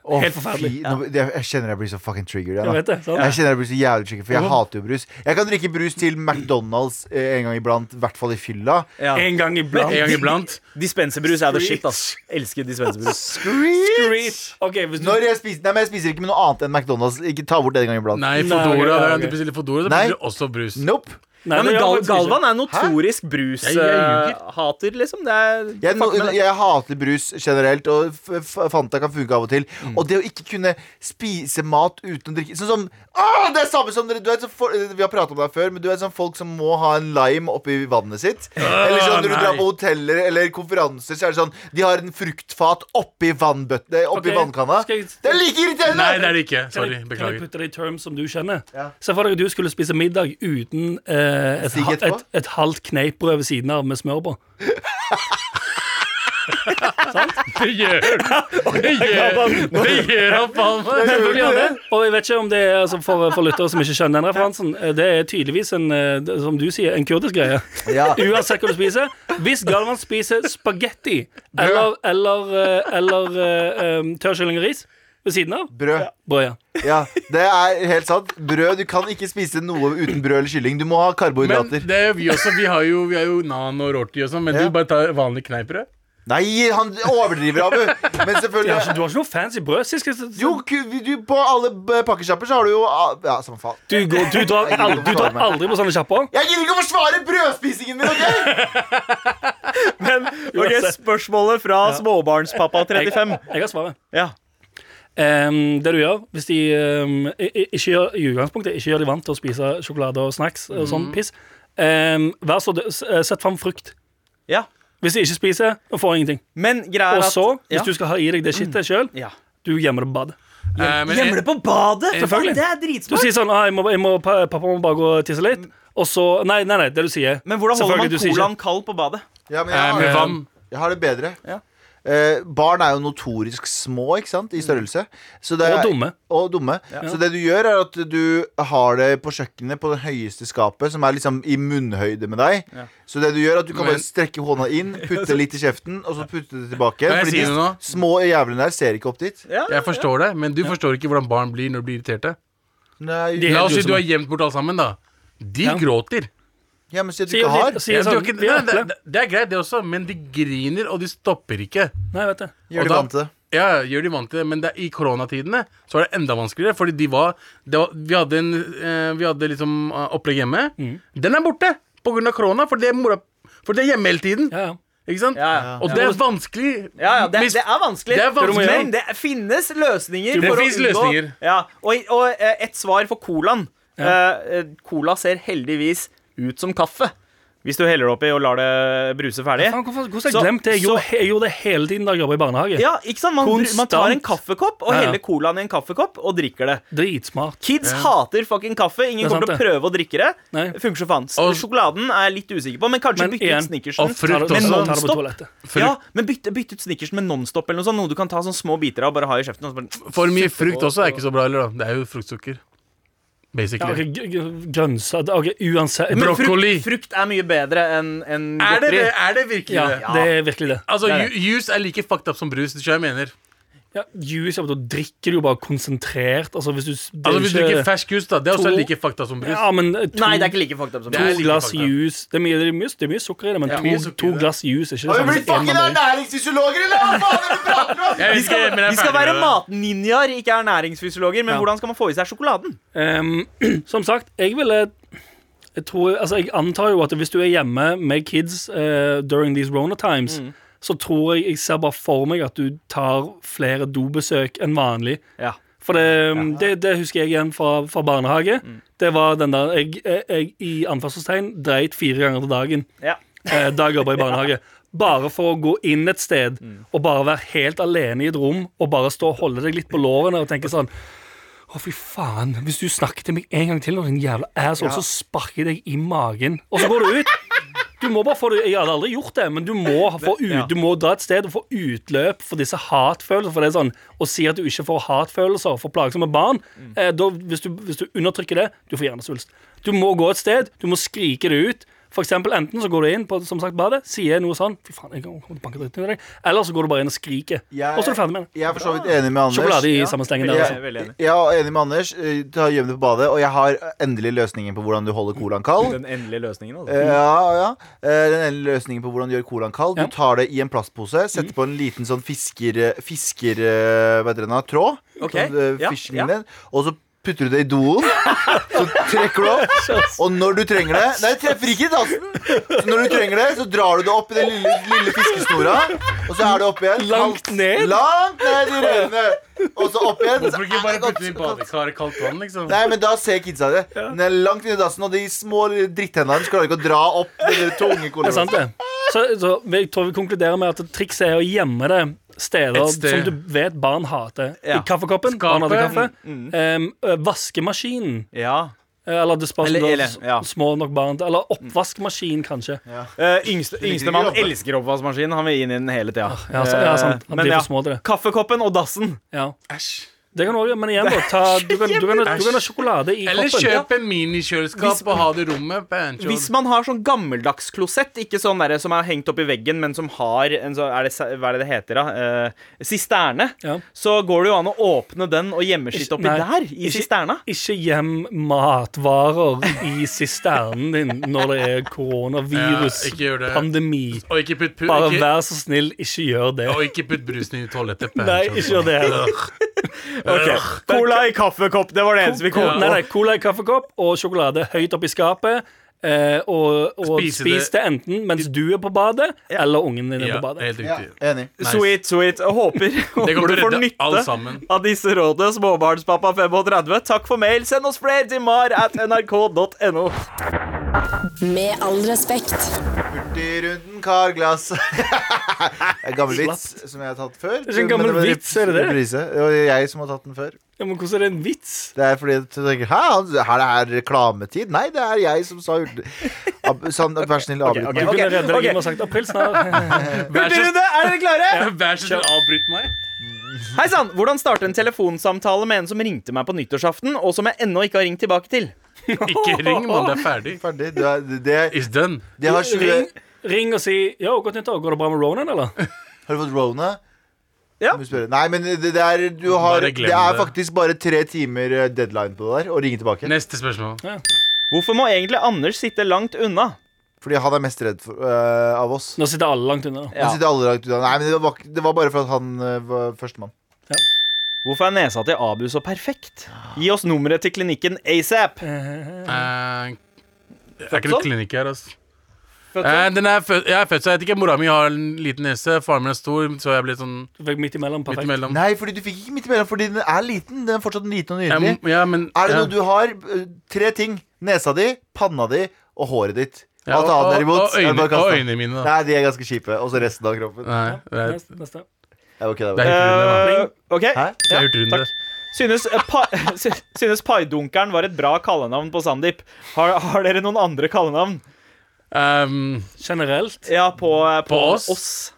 Å,
Helt forferdelig.
fy, nå- det- jeg kjenner jeg blir så fucking triggered.
Jeg vet
Jeg,
det,
nå.
sant?
jeg kjenner jeg blir så jævlig triggered, for jeg hater jo brus. Jeg kan drikke brus til McDonald's eh, en gang iblant, i hvert fall i fylla.
ja.
en gang iblant.
En gang iblant.
Dispenserbrus er the shit, ass. Elsker dispenserbrus.
Screech!
Ok, hvis du,
Når jeg spiser, nei, men jeg spiser ikke med noe annet enn McDonald's. Ikke ta bort det en gang iblant.
Nei,
Nei, ok,
Fodora.
ja,
Hver gang
ok.
du bestiller Fodora, så
Nei.
bestiller du også brus.
Nope.
Nei,
Ja,
det
men
gjør
Gal
jeg faktisk ikke.
Galvan er notorisk
Jeg- jeg ljuger.
brushater, liksom. Det er,
Jeg,
fuck med det.
jeg hater brus generelt, og f- f- Fanta kan funke av og til. Og det å ikke kunne spise mat uten å drikke Sånn som Åh, Det er samme som dere du vet, så for, Vi har pratet om det her før, men du er sånn folk som må ha en lime oppi vannet sitt. Eller sånn når du
nei.
drar på hoteller eller konferanser, så er det sånn De har en fruktfat oppi vannbøttene Oppi
Ok,
vannkanna.
skal jeg-
Det er like irriterende!
Nei, det er det ikke.
Kan jeg-
Sorry.
Kan jeg
Beklager.
putte det i terms som du kjenner?
Ja.
Se for deg at du skulle spise middag uten eh, et,
Sigg
ha-
etterpå?
et, et halvt kneippbrød ved siden av med smør på.
Det gjør Det gjør, det gjør han faen meg.
Ja, det. Og jeg vet ikke om det er altså, for, for lyttere som ikke skjønner den referansen. eh, Det er tydeligvis en, eh, det- som du sier, en kurdisk greie.
Ja.
Uansett hva du spiser. Hvis Galvan spiser spagetti eller, eller, eh, eller eh, um, tørrkylling og ris ved siden av,
Brød.
brød, ja.
Ja, det er helt sant. Brød, Du kan ikke spise noe uten brød eller kylling. Du må ha
Men
karbohydrater.
det gjør vi også. Vi har jo, vi har jo Nan og Rorty og sånn, men
Ja.
du bare tar vanlig kneippbrød.
Nei, han overdriver, Abu. Men
Du har ikke,
selvfølgelig
du har ikke noe fancy brød? Sist, sist-
Jo, ku- du, på alle b- pakkesjapper så har du jo ah, Ja, samme faen.
Du, går, du, drar, aldri, du drar aldri på sånne sjapper?
Jeg gidder ikke å forsvare brødspisingen min, OK?
Men ok,
Uansett.
spørsmålet fra småbarnspappa 35.
Jeg har svaret.
Ja.
Ehm, det du gjør, hvis de ehm, i- i- ikke gjør, i utgangspunktet ikke gjør de vant til å spise sjokolade og snacks og
Mm.
sånn piss, ehm, vær så dø- s- eh, sett fram frukt.
ja.
Hvis de ikke spiser, da får jeg ingenting.
Men greia
Og
er at
så, hvis
ja.
du skal ha i deg det skittet sjøl,
ja.
du gjemmer det på badet.
Eh, men
Gjemmer det på badet!
Selvfølgelig.
Det er
Du
dritsmart.
sier sånn ah, jeg må, jeg må, 'Pappa må bare gå og tisse litt', og så Nei, nei, nei, det du sier.
Men hvordan holder
Selvfølgelig,
man
du sier
colaen
ikke-
kald på badet?
Ja, men
eh,
jeg,
med
har,
vann.
jeg har det bedre.
Ja.
Eh, barn er jo notorisk små ikke sant, i størrelse. Så det er-
Og dumme.
Og dumme. Så det du gjør, er at du har det på kjøkkenet på det høyeste skapet, som er liksom i munnhøyde med deg. Så det du gjør, er at du kan
Men-
bare strekke hånda inn, putte litt i kjeften, og så putte det tilbake. igjen,
Kan jeg si
Fordi de
noe nå?
små jævlene der ser ikke opp dit.
Ja.
Jeg forstår det, men du forstår ikke hvordan barn blir når de blir irriterte.
Nei,
De-
La oss si
grusomme.
du har gjemt bort alle sammen, da. De
Ja.
gråter.
ja, men si at du
Sier,
ikke har.
sier,
Ja,
sier
du har
sånn
ikke,
«Vi er
nei, det,
eple».
det- det er greit, det også, men de griner, og de stopper ikke.
Nei, vet du.
Gjør
Og
de
da-
vant til det.
Ja, gjør de vant til det, men det, er- i koronatidene så var det enda vanskeligere, fordi de var, det var Vi hadde, en, eh, vi hadde liksom eh, opplegg hjemme. Den er borte på grunn av korona, for det er mora For det er hjemme hele tiden.
Ja, ja.
Ikke sant?
Ja, ja.
Og det er vanskelig.
Ja, ja, det,
Hvis-
det er vanskelig,
Det er vanskelig.
men det finnes løsninger.
Det
for å
finnes
unngå-
løsninger.
Ja, og, og eh, et svar for colaen. Eh, eh, Cola ser heldigvis ut som kaffe. Hvis du heller det oppi og lar det bruse ferdig.
Faen, hvorfor- Hvordan
Eh, Så-
har jeg glemt det? Jeg gjorde,
så-
jeg gjorde det hele tiden da jeg jobba i barnehage.
Ja, ikke sant? Man, br- man tar en
Konstant.
kaffekopp og
Ja, ja.
heller colaen i en kaffekopp og drikker det.
Dritsmart.
Kids hater fucking kaffe. Ingen
Det er
kommer til
sant
å prøve å drikke det.
Nei.
Funker så faen. S-
Og-
Sjokoladen er jeg litt usikker på, men kanskje
Men
bytte
igjen,
ut snickersen.
og frukt
Men
også.
Ta det på
nonstop.
toalettet.
Frukt.
Ja, men bytte, bytte ut snickersen med nonstop eller noe sånt. Noe du kan ta sånn små biter av og bare ha i kjeften. Og så bare
For mye frukt også er ikke så bra heller, da. Det er jo fruktsukker.
Ja,
Basically.
ok, g- g- grønnsak Ok, uansett
Men-
Bro-
Brokkoli.
Frukt, frukt er mye bedre enn enn
Er
godteri.
det det? Er det virkelig
ja,
det?
det er virkelig det.
Altså,
Det er
ju- juice er like fucked up som brus. Du skjønner hva jeg mener.
Ja, juice, ja, men Da drikker du jo bare konsentrert. Altså, hvis du det er
Altså, hvis du
ikke-
drikker fersk juice, da, det er også
To-
like fucked up som brus.
Ja, men eh, to,
Nei, det er ikke like fucked up som
Det er
to
like
glass
fucked up.
juice Det er mye, det er mye, det er mye sukker i det, men
Ja, mye
to,
sukker i
to
det.
glass juice er ikke det
Har vi
samme
blitt
som en
fucking
mandarin.
ernæringsfysiologer, eller hva faen er det du prater om?
Jeg vet
De skal,
ikke, men jeg er
de skal
ferdig
være
med det.
matninjaer, ikke ernæringsfysiologer. Men
Ja.
hvordan skal man få i seg sjokoladen?
Ehm, Som sagt, jeg ville Jeg, tror, altså, jeg antar jo at hvis du er hjemme med kids eh, during these Rona times,
Mm.
så tror jeg jeg ser bare for meg at du tar flere dobesøk enn vanlig.
Ja.
For det, mm, det, det husker jeg igjen fra, fra barnehage.
Mm.
Det var den der jeg, jeg, jeg i anførselstegn dreit fire ganger til dagen.
ja.
Eh, da jeg jobba i barnehage. Bare for å gå inn et sted og bare være helt alene i et rom og bare stå og holde deg litt på lårene og tenke sånn Å, fy faen. Hvis du snakker til meg en gang til, nå, din jævla asshole, så sparker jeg deg i magen. Og så går du ut. Du må bare få det, Jeg hadde aldri gjort det, men du må, få ut,
ja.
du må dra et sted og få utløp for disse hatfølelsene. For det er sånn, Å si at du ikke får hatfølelser for plagsomme barn
Mm.
eh, da, hvis, du, hvis du undertrykker det, du får hjernesvulst. Du må gå et sted, du må skrike det ut. For eksempel, Enten så går du inn på som sagt, badet, sier noe sånn Fy faen, jeg kommer til å banke dritten ut av deg. Eller så går du bare inn og skriker.
Jeg-
Og så er du ferdig med det.
Jeg er for så vidt enig med Anders.
Sjokolade i samme slengen der.
Ja.
Altså.
Jeg er veldig enig.
Jeg er enig med Anders. eh, Ta Gjem det på badet. Og jeg har endelig løsningen på hvordan du holder colaen kald.
Den endelige løsningen, altså.
Eh, Ja, ja. Eh, Den endelige løsningen på hvordan du gjør colaen kald.
Ja.
Du tar det i en plastpose, setter på en liten sånn fisker... fisker eh, hva heter den, da? tråd.
Ok,
Sånn, eh,
ja,
fishing
ja.
line. Og så putter du det i doen. Så trekker du opp. Og når du trenger det Nei, det treffer ikke i tassen! Så når du trenger det, så drar du det opp i den lille, lille fiskesnora, og så er det opp igjen.
Langt
Kaldt-
ned?
Langt ned i rørene. Og så opp igjen.
Hvorfor ikke bare
Ah,
putte det i badekaret kaldt vann, liksom?
Nei, men da ser kidsa det. Den er langt inni dassen, og de små dritthendene deres klarer ikke å dra opp den tunge
Det er sant,
kolonnen.
det. Så, så jeg tror vi konkluderer med at trikset er å gjemme det steder
Et sted.
som du vet barn hater.
Ja.
I kaffekoppen.
Skapet.
Barn hater kaffe. Em, ø, vaskemaskinen.
Ja.
Eh, Eller det spørs om
Eller-
du
eller,
har s-
ja.
små nok barn til Eller oppvaskmaskin, kanskje. Ja,
Eh, yngste Yngstemann
jobbe.
elsker oppvaskmaskin. Han vil inn i den hele tida.
så, ja sant.
Eh,
Han blir for små til det.
Kaffekoppen og dassen.
Ja.
Æsj.
Det kan du også gjøre, men igjen, da. Ta, du, kan, du, kan, du, kan ha sjokolade i
Eller
koppen.
kjøp en minikjøleskap og ha det i rommet. Pancho.
Hvis man har sånn gammeldags klosett, ikke sånn der, som er hengt opp i veggen, men som har en sånn er det, se- Hva er det det heter, da? Eh, sisterne.
Ja.
Så går det jo an å åpne den og gjemme skitt
Ikke-
oppi
nei.
der, i
Ikke-
sisterna.
Ikke gjem matvarer i sisternen din når det er
Ja, ikke gjør det.
koronaviruspandemi.
Og ikke putt, pu
Bare
ikke,
vær så snill, ikke gjør det.
og ikke putt brusen i toalettet. Pancho.
Nei, ikke gjør det heller.
Cola i kaffekopp. Det var det eneste vi kom
Nei,
på.
nei, cola i kaffekopp og sjokolade høyt oppe i skapet. Eh, og og
Spise
spis det enten mens du er på badet, eller ungen din er
Ja,
på badet.
helt
Ja,
riktig.
enig.
Sweet, sweet. Jeg Håper,
kommer
håper du
til å
får
redde alle sammen.
nytte av disse rådene, småbarnspappa 35. Takk for mail. Send oss flere til mar at nrk.no.
Med all respekt.
Hurtig rundt en karglass. En gammel vits som jeg har tatt før.
er ikke en gammel
Men var
vits, er det det?
reprise. Det var jeg som har tatt den før.
Ja, men hvordan er det en vits?
Det er fordi du tenker Hæ, han- her er reklametid? Nei, det er jeg som sa hurtig Ab- Sånn, Vær så snill, avbryt
Du
meg.
kunne redde deg
ok.
med å sagt aprilsnarr.
Vær så
Hurtigrunde, er dere klare?
vær så snill, avbryt meg.
Hei sann! Hvordan starte en telefonsamtale med en som ringte meg på nyttårsaften, og som jeg ennå ikke har ringt tilbake til?
Ikke ring, mann. Det er ferdig.
Ferdig. Du er, det,
It's done.
det har, 20,
Ring, ring og si ja, godt nyttår. Går det bra med Ronan, eller?
har du fått rona?
Ja.
Må vi spørre. Nei, men det, det er Du har
Bare
Det
glem
er
det.
faktisk bare tre timer eh, deadline på det der, å ringe tilbake.
Neste spørsmål.
Hvorfor må egentlig Anders sitte langt unna?
Fordi han er mest redd for, eh, av oss.
Nå sitter alle langt unna.
Han sitter alle langt unna. Nei, men det var, ikke- det var bare for at han eh, var førstemann.
Hvorfor er nesa til Abu så perfekt? Gi oss nummeret til klinikken ASAP.
Eh, det er ikke
Fødsel?
noen klinikk her, altså.
Fødsel?
Eh, den er fød jeg er født, så jeg vet ikke. Mora mi har en liten nese, faren min er stor, så jeg ble sånn
Du fikk midt imellom.
midt
Perfekt.
imellom.
Nei, fordi du fikk ikke midt imellom, fordi den er liten. Den er fortsatt liten og
Jeg
nydelig.
må- Ja, men
Er det
ja.
noe du har? eh, Tre ting. Nesa di, panna di og håret ditt.
Ja,
Alt
og-
annet derimot.
og- og
er
øyne-
bare kasta.
og øynene mine, da.
Nei, de er ganske kjipe. Og så resten av kroppen.
Nei, det er,
Neste, neste.
Jeg var kødda
det
med
er
deg.
hurtigrunde.
Eh, OK.
Hæ?
Det er hurtigrunde.
takk. Synes, eh, pa sy- synes Paidunkeren var et bra kallenavn på Sandeep. Har, har dere noen andre kallenavn?
Um,
Generelt.
Ja, på, eh, på,
På oss?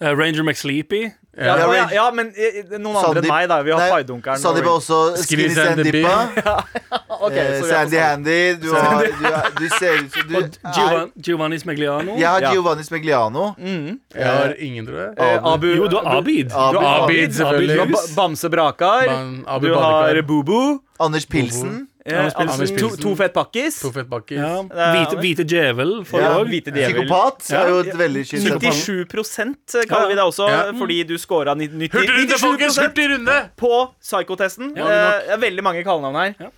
eh, Ranger McSleepy.
Ja,
Ja,
å, ja,
Ray-
ja, men eh, noen andre
Sandeep-
enn meg, da. Vi har
Nei,
Paidunkeren. og
Sandeep er
Ray-
også
Skinny
Skinny
Sandy
Sandeepa.
Ok, så vi
eh,
har
Sandy
på-
Handy. Du, har, du, er- du ser ut som du
Og
er-
Giovanni, Giovanni Smegliano.
Jeg har
Ja.
Giovanni Smegliano.
Mm. jeg har ingen, tror jeg.
eh, Abu,
Jo, du har Abid.
Abid.
Du har
Abid, selvfølgelig.
Du har ba Bamse Brakar.
Man- Abu
du har
Badekar.
Bubu.
Anders Pilsen.
Eh,
Anders Pilsen.
Anders Pilsen. To, to fett pakkis.
To fett bakkis.
Ja.
er
Hvite, hvite djevel. For
Ja,
ja,
hvite djevel.
Psykopat er jo et veldig kjipt
97 eh, kaller vi det også,
Ja.
fordi du scora 90
Hurtigrunde, folkens!
97
Hurtigrunde!
på psykotesten.
Ja, det er
Eh, det er veldig mange kallenavn her.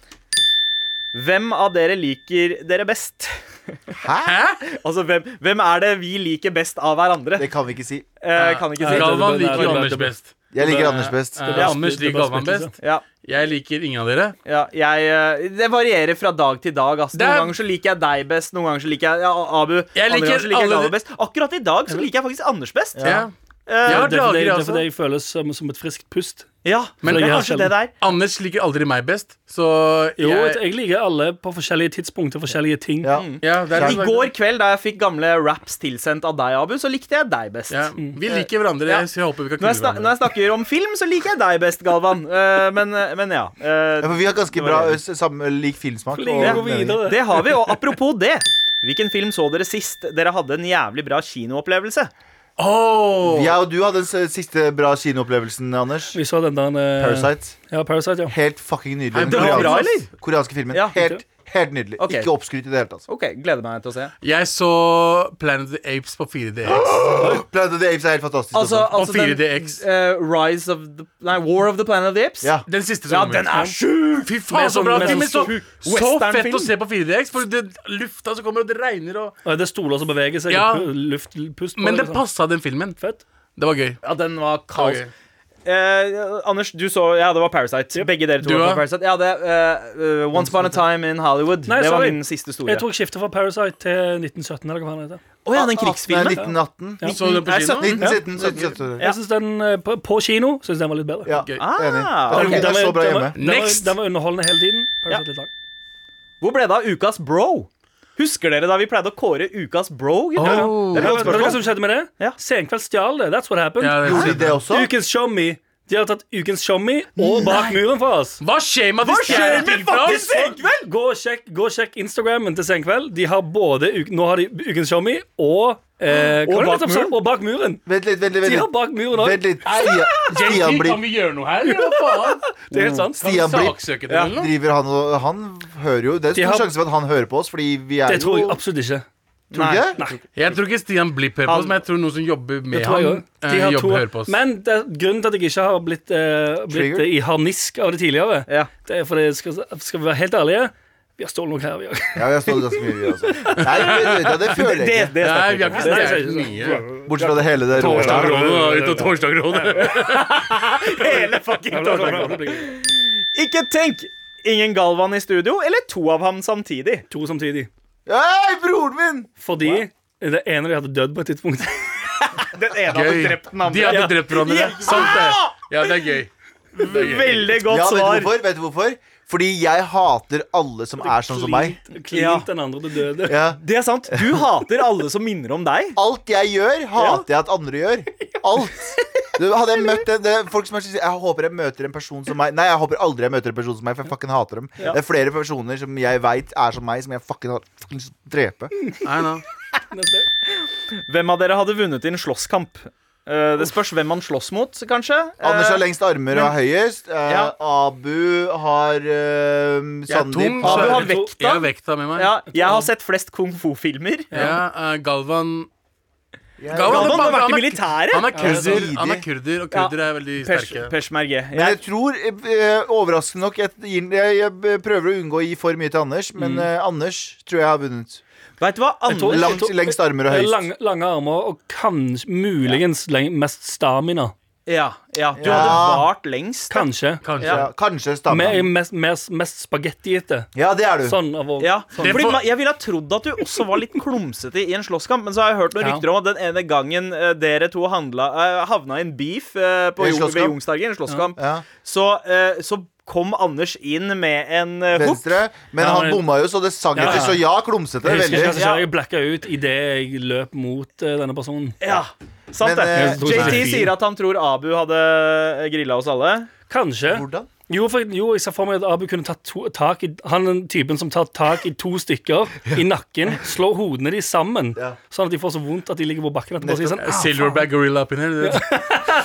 Hvem av dere liker dere best?
Hæ?
Altså, hvem, hvem er det vi liker best av hverandre?
Det kan vi ikke si.
Eh, kan ikke si.
Galvan
det- det-
liker
det-
jo
det-
Anders
det-
best.
Jeg liker Anders best.
Eh,
bare-
Anders
det er
liker
bare
Galvan
splittelse.
best.
Ja,
Jeg liker ingen av dere.
ja, jeg, eh, det varierer fra dag til dag. ass.
Det
Noen
er-
ganger så liker jeg deg best, noen ganger så liker jeg ja, Abu.
Jeg
andre
liker
ganger så liker jeg
alle
Galvan
de-
best Akkurat i dag så liker jeg faktisk Anders best.
Ja.
Eh,
Jeg har
Det er fordi-
dager,
det er fordi
altså.
jeg føles som, som et friskt pust.
ja,
Men-
men det er kanskje det der.
Anders liker aldri meg best, så
Jo, jeg,
jeg,
liker alle på forskjellige tidspunkter, forskjellige ting.
Ja.
ja, det er
I går kveld da jeg fikk gamle raps tilsendt av deg, Abu, så likte jeg deg best.
ja, Vi liker hverandre, så jeg håper vi
Når
kan knulle
jeg, snak når
hverandre.
jeg snakker om film, så liker jeg deg best, Galvan. Eh, men, men ja. eh,
Ja, for vi har ganske bra ø, samme, lik filmsmak.
Ligger
og
og går
meninger.
videre.
Det har vi, og apropos det Hvilken film så dere sist dere hadde en jævlig bra kinoopplevelse?
Åh!
Jeg og du hadde den s- siste bra kinoopplevelsen, Anders.
Vi så den der eh,
Parasite.
Ja, Parasite, ja.
Helt fucking nydelig.
Nei,
Den
det var
koreanske-
bra, eller?
Koreanske filmen.
Ja,
helt, helt nydelig.
Ok.
Ikke oppskrytt i det hele tatt.
Ok, gleder meg til å se.
Jeg så Planet of the Apes på 4DX.
Planet of the Apes er helt fantastisk.
Altså,
også.
altså
Og 4DX.
den, eh, Rise of the Nei, War of the Planet of the Apes?
Ja.
Den siste
Ja,
som
den er sjuk!
Fy faen,
Med
så
sånn-
bra
med sånn
film! men Så,
sjuk
så
westernfilm.
fett å se på 4DX, for det lufta som kommer, og det regner og
Og Det er stoler som beveger seg,
Ja.
og pu- luftpust på
Men det
liksom.
passa den filmen.
Fett.
Det var gøy.
Ja, den var
Det var
kaos.
gøy.
Eh, Anders, du så Ja, det var Parasite. Begge dere to
Du
var
da?
på Parasite. Ja, det eh, eh, Once Upon a Time in Hollywood.
Nei,
det var
sorry.
min siste store.
Jeg tror jeg skifter fra Parasite til 1917, eller hva faen det heter.
Å ja, den krigsfilmen.
Nei, 1918.
Så du den på
Nei,
kino?
1917. 1717.
Jeg synes den eh, på, på kino synes den var litt bedre.
Ja,
Gøy.
enig.
Ah,
Den,
ok.
den er så bra
den,
hjemme.
var, den, var,
Next!
den var underholdende hele tiden. Parasite litt lang.
Hvor ble det av ukas bro? Husker dere da vi pleide å kåre ukas bro? gutter?
Oh.
Det er et godt
Vet du hva
spørsmål.
som skjedde med det?
Ja.
Senkveld stjal det. That's what happened.
Ja, det
Gjorde de
er
det
sykt.
også?
Ukens Tjommi. De har tatt Ukens Tjommi og bak muren for oss.
Hva skjer med at de
skjer med
stjeler ting fra
fucking
oss?
Senkveld?
Gå og sjekk, gå og sjekk Instagrammen til Senkveld. De har både, uk- nå har de Ukens Tjommi og eh, hva
Og
var
Bak
det som sa?
Muren?
Og bak muren.
Vent litt, vent litt.
De har
Vent litt.
bak muren òg.
Vent litt. Stian, Stian
Kan
blir
vi gjøre noe her, eller hva faen?
Det er helt sant.
Kan vi
Stian blir-
saksøke dem, eller noe?
Driver han og Han hører jo Det er
De
stor
har-
sjanse for at han hører på oss, fordi vi er
Det tror jeg
jo
absolutt ikke.
Tror du ikke?
Nei.
Jeg tror ikke Stian Blipp hører på oss,
Han-
men jeg tror noen som jobber med
Det tror jeg
ham,
også. De har to-
eh, jobber hører på oss.
Men det, er grunnen til at jeg ikke har blitt, eh, blitt
Triggered?
eh, i harnisk av det tidligere,
Ja.
det er fordi, skal, skal vi være helt ærlige, vi har stålet noe her, vi òg.
Ja, vi har stått ganske mye, vi også. Nei, vet du, det, det føler jeg ikke.
det
Nei, vi har
Nei,
ikke
det er
stjålet mye.
Bortsett fra det hele det rådet der.
Hele fucking Ikke tenk ingen Galvan i studio, eller to av ham samtidig.
To samtidig.
Hei, broren min!
Fordi det ene de hadde dødd på et tidspunkt.
Den ene hadde
Gøy.
drept den andre.
De hadde drept hverandre.
Ja.
Sant det. Ja, det er gøy. Det er gøy.
Veldig godt
Ja, vet du
svar.
hvorfor? Vet du hvorfor? Fordi jeg hater alle som er sånn som meg.
Klint,
Ja.
klint den andre til døde.
Ja.
Det er sant. Du hater alle som minner om deg.
Alt jeg gjør, hater jeg at andre gjør. Alt. Du, hadde jeg møtt en, det er folk som er sånn Jeg håper jeg møter en person som meg Nei, jeg håper aldri jeg møter en person som meg, for jeg fucking hater dem. Det er flere personer som jeg veit er som meg, som jeg fucking hater. Fucking lyst til å drepe.
Mm.
Nei, nå.
Neste.
Hvem av dere hadde vunnet i en slåsskamp? Eh, det spørs hvem man slåss mot, kanskje. Eh,
Anders har lengst armer og er høyest. Eh,
Ja.
Abu har eh,
Jeg er tung,
Sandeep
så
Abu
jeg-
har
to-
vekta.
jeg har vekta med meg.
ja, jeg har sett flest kung fu-filmer.
Ja, eh, Galvan
Jeg-
Galvan,
Galvan har
han
vært i
er- Han
militæret.
er kurder,
sant.
han er kurder og kurder er veldig
Pers
sterke.
Persmerge. Jeg,
Men jeg tror, eh, overraskende nok jeg, gir- jeg, jeg prøver å unngå å gi for mye til Anders,
Mm.
men eh, Anders tror jeg har vunnet.
vet du hva?
tror-
Anders,
Langt, lengst armer
Det
og
er
høyest.
Lange, lange armer og kanskje muligens leng, mest stamina.
ja, ja, du
Ja.
hadde vart lengst. da.
Kanskje.
Kanskje.
Ja, kanskje
Mer,
stammen.
mest mest, mest spagettiete.
Ja, det er du.
Sånn av å
Ja,
Det
fordi
får-
ma- Jeg ville ha trodd at du også var litt klumsete i en slåsskamp, men så har jeg hørt noen
Ja.
rykter om at den ene gangen eh, dere to handla, eh, havna i en beef eh, på
I en
Jung- ved
slåsskamp?
Youngstorget, i en slåsskamp,
Ja.
så, eh, så kom Anders inn med en eh, hook.
Venstre. Men
Ja,
han
men-
bomma jo så det sang
Ja,
etter,
ja.
så ja, klumsete.
Jeg husker ikke hva
Veldig.
som skjedde. Jeg blacka ut idet jeg løp mot eh, denne personen.
Ja, sant
Men, eh,
det.
Jeg tror
JT
ikke-
sier at han tror Abu hadde grilla oss alle.
Kanskje.
Hvordan?
Jo, for, jo, jeg ser for meg at Abu kunne tatt to, tak i Han er den typen som tar tak i to stykker i nakken, slår hodene de sammen,
Ja.
sånn at de får så vondt at de ligger på bakken etterpå og sier sånn
Eh, Silverback gorilla oppi her. du vet.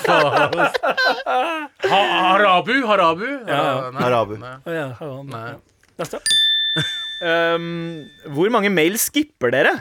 Faen. Ha- Harabu, harabu.
Ja.
Nei,
Harabu.
nei.
«Au, ja, her var han».
Nei.
Neste.
Um, hvor mange mail skipper dere?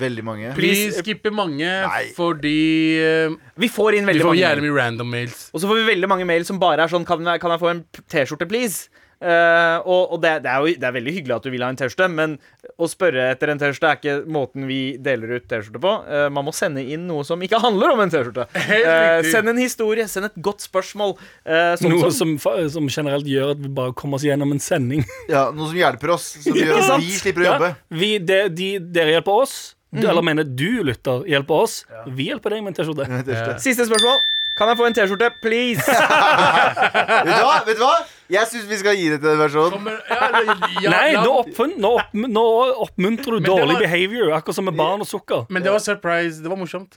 Veldig mange.
Vi skipper mange
Nei.
fordi eh,
Vi får inn
vi
veldig
får
mange.
jævlig mye random mails.
Og så får vi veldig mange mail som bare er sånn Kan jeg, kan jeg få en p- T-skjorte, please? Eh, og og det, det, er jo, det er veldig hyggelig at du vil ha en T-skjorte, men å spørre etter en T-skjorte er ikke måten vi deler ut T-skjorte på. Eh, man må sende inn noe som ikke handler om en T-skjorte.
Helt
Eh,
riktig.
send en historie, send et godt spørsmål. eh, sånn
Noe
som-
som, fa- som generelt gjør at vi bare kommer oss gjennom en sending.
Ja, noe som hjelper oss, som
Ikke
gjør at
sant?
vi slipper å jobbe.
Ja, vi, de, de, dere hjelper oss.
Mm.
Du, Eller mener du lytter hjelper oss. Vi hjelper deg med en T-skjorte.
Siste spørsmål. Kan jeg få en T-skjorte, please?
Vet du hva? Vet du hva? Jeg syns vi skal gi det til den versjonen.
Men, ja, eller, ja,
Nei,
la-
nå, oppfunn, nå, opp, nå oppmuntrer du
det
dårlig
var-
behavior, akkurat som med barn og sukker.
men det var surprise. Det var morsomt.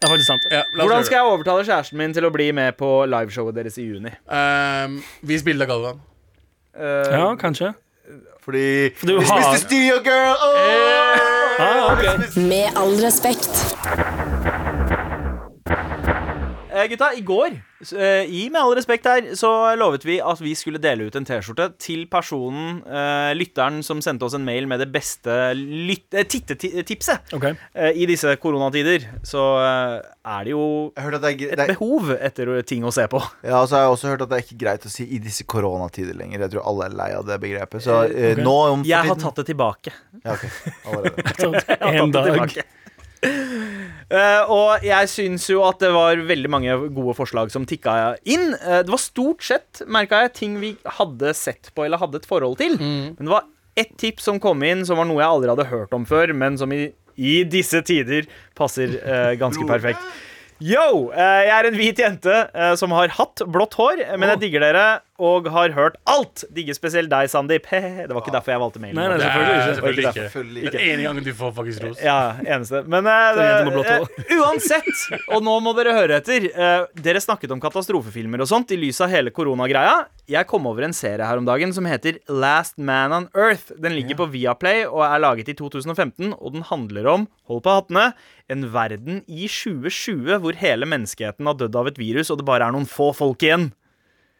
Det er faktisk sant.
Ja, la oss
Hvordan
gjøre
skal jeg overtale kjæresten min til å bli med på liveshowet deres i juni?
det. Um, Vis bilde av Galvan.
Eh,
Ja, kanskje.
Fordi
du
Vi
har-
spiste Studio Girl! Åh!
Ah, ok.
Med all respekt.
Eh, gutta, i går, s- eh, i Med all respekt her, så lovet vi at vi skulle dele ut en T-skjorte til personen, eh, lytteren, som sendte oss en mail med det beste lyt- eh, tittetipset.
Ok.
Eh, I disse koronatider så eh, er det jo
Jeg har hørt at det er,
et
det er,
behov etter ting å se på.
ja, og så har jeg også hørt at det er ikke greit å si 'i disse koronatider' lenger. Jeg tror alle er lei av det begrepet. Så eh,
Ok.
nå om
Jeg har
fortiden-
tatt det tilbake.
ja, ok. Allerede.
En dag.
Eh, og jeg syns jo at det var veldig mange gode forslag som tikka inn. Eh, det var stort sett, merka jeg, ting vi hadde sett på eller hadde et forhold til. Men
Mm.
det var ett tips som kom inn, som var noe jeg aldri hadde hørt om før, men som i, i disse tider passer eh, ganske perfekt. Yo! eh, Jeg er en hvit jente eh, som har hatt blått hår, eh, men jeg digger dere og har hørt alt. Digger spesielt deg, Sandeep. Det var ikke derfor jeg valgte mailen.
Ah. Nei, nei, selvfølgelig ikke.
selvfølgelig ikke.
Selvfølgelig.
Den ene gangen du får faktisk ros.
Ja, eneste. Men eh,
Det er en jente med blått hår.
eh, uansett, og nå må dere høre etter. eh, dere snakket om katastrofefilmer og sånt i lys av hele koronagreia. Jeg kom over en serie her om dagen som heter Last Man on Earth. Den ligger på Viaplay og er laget i 2015, og den handler om Hold på hattene. En verden i 2020 hvor hele menneskeheten har dødd av et virus, og det bare er noen få folk igjen.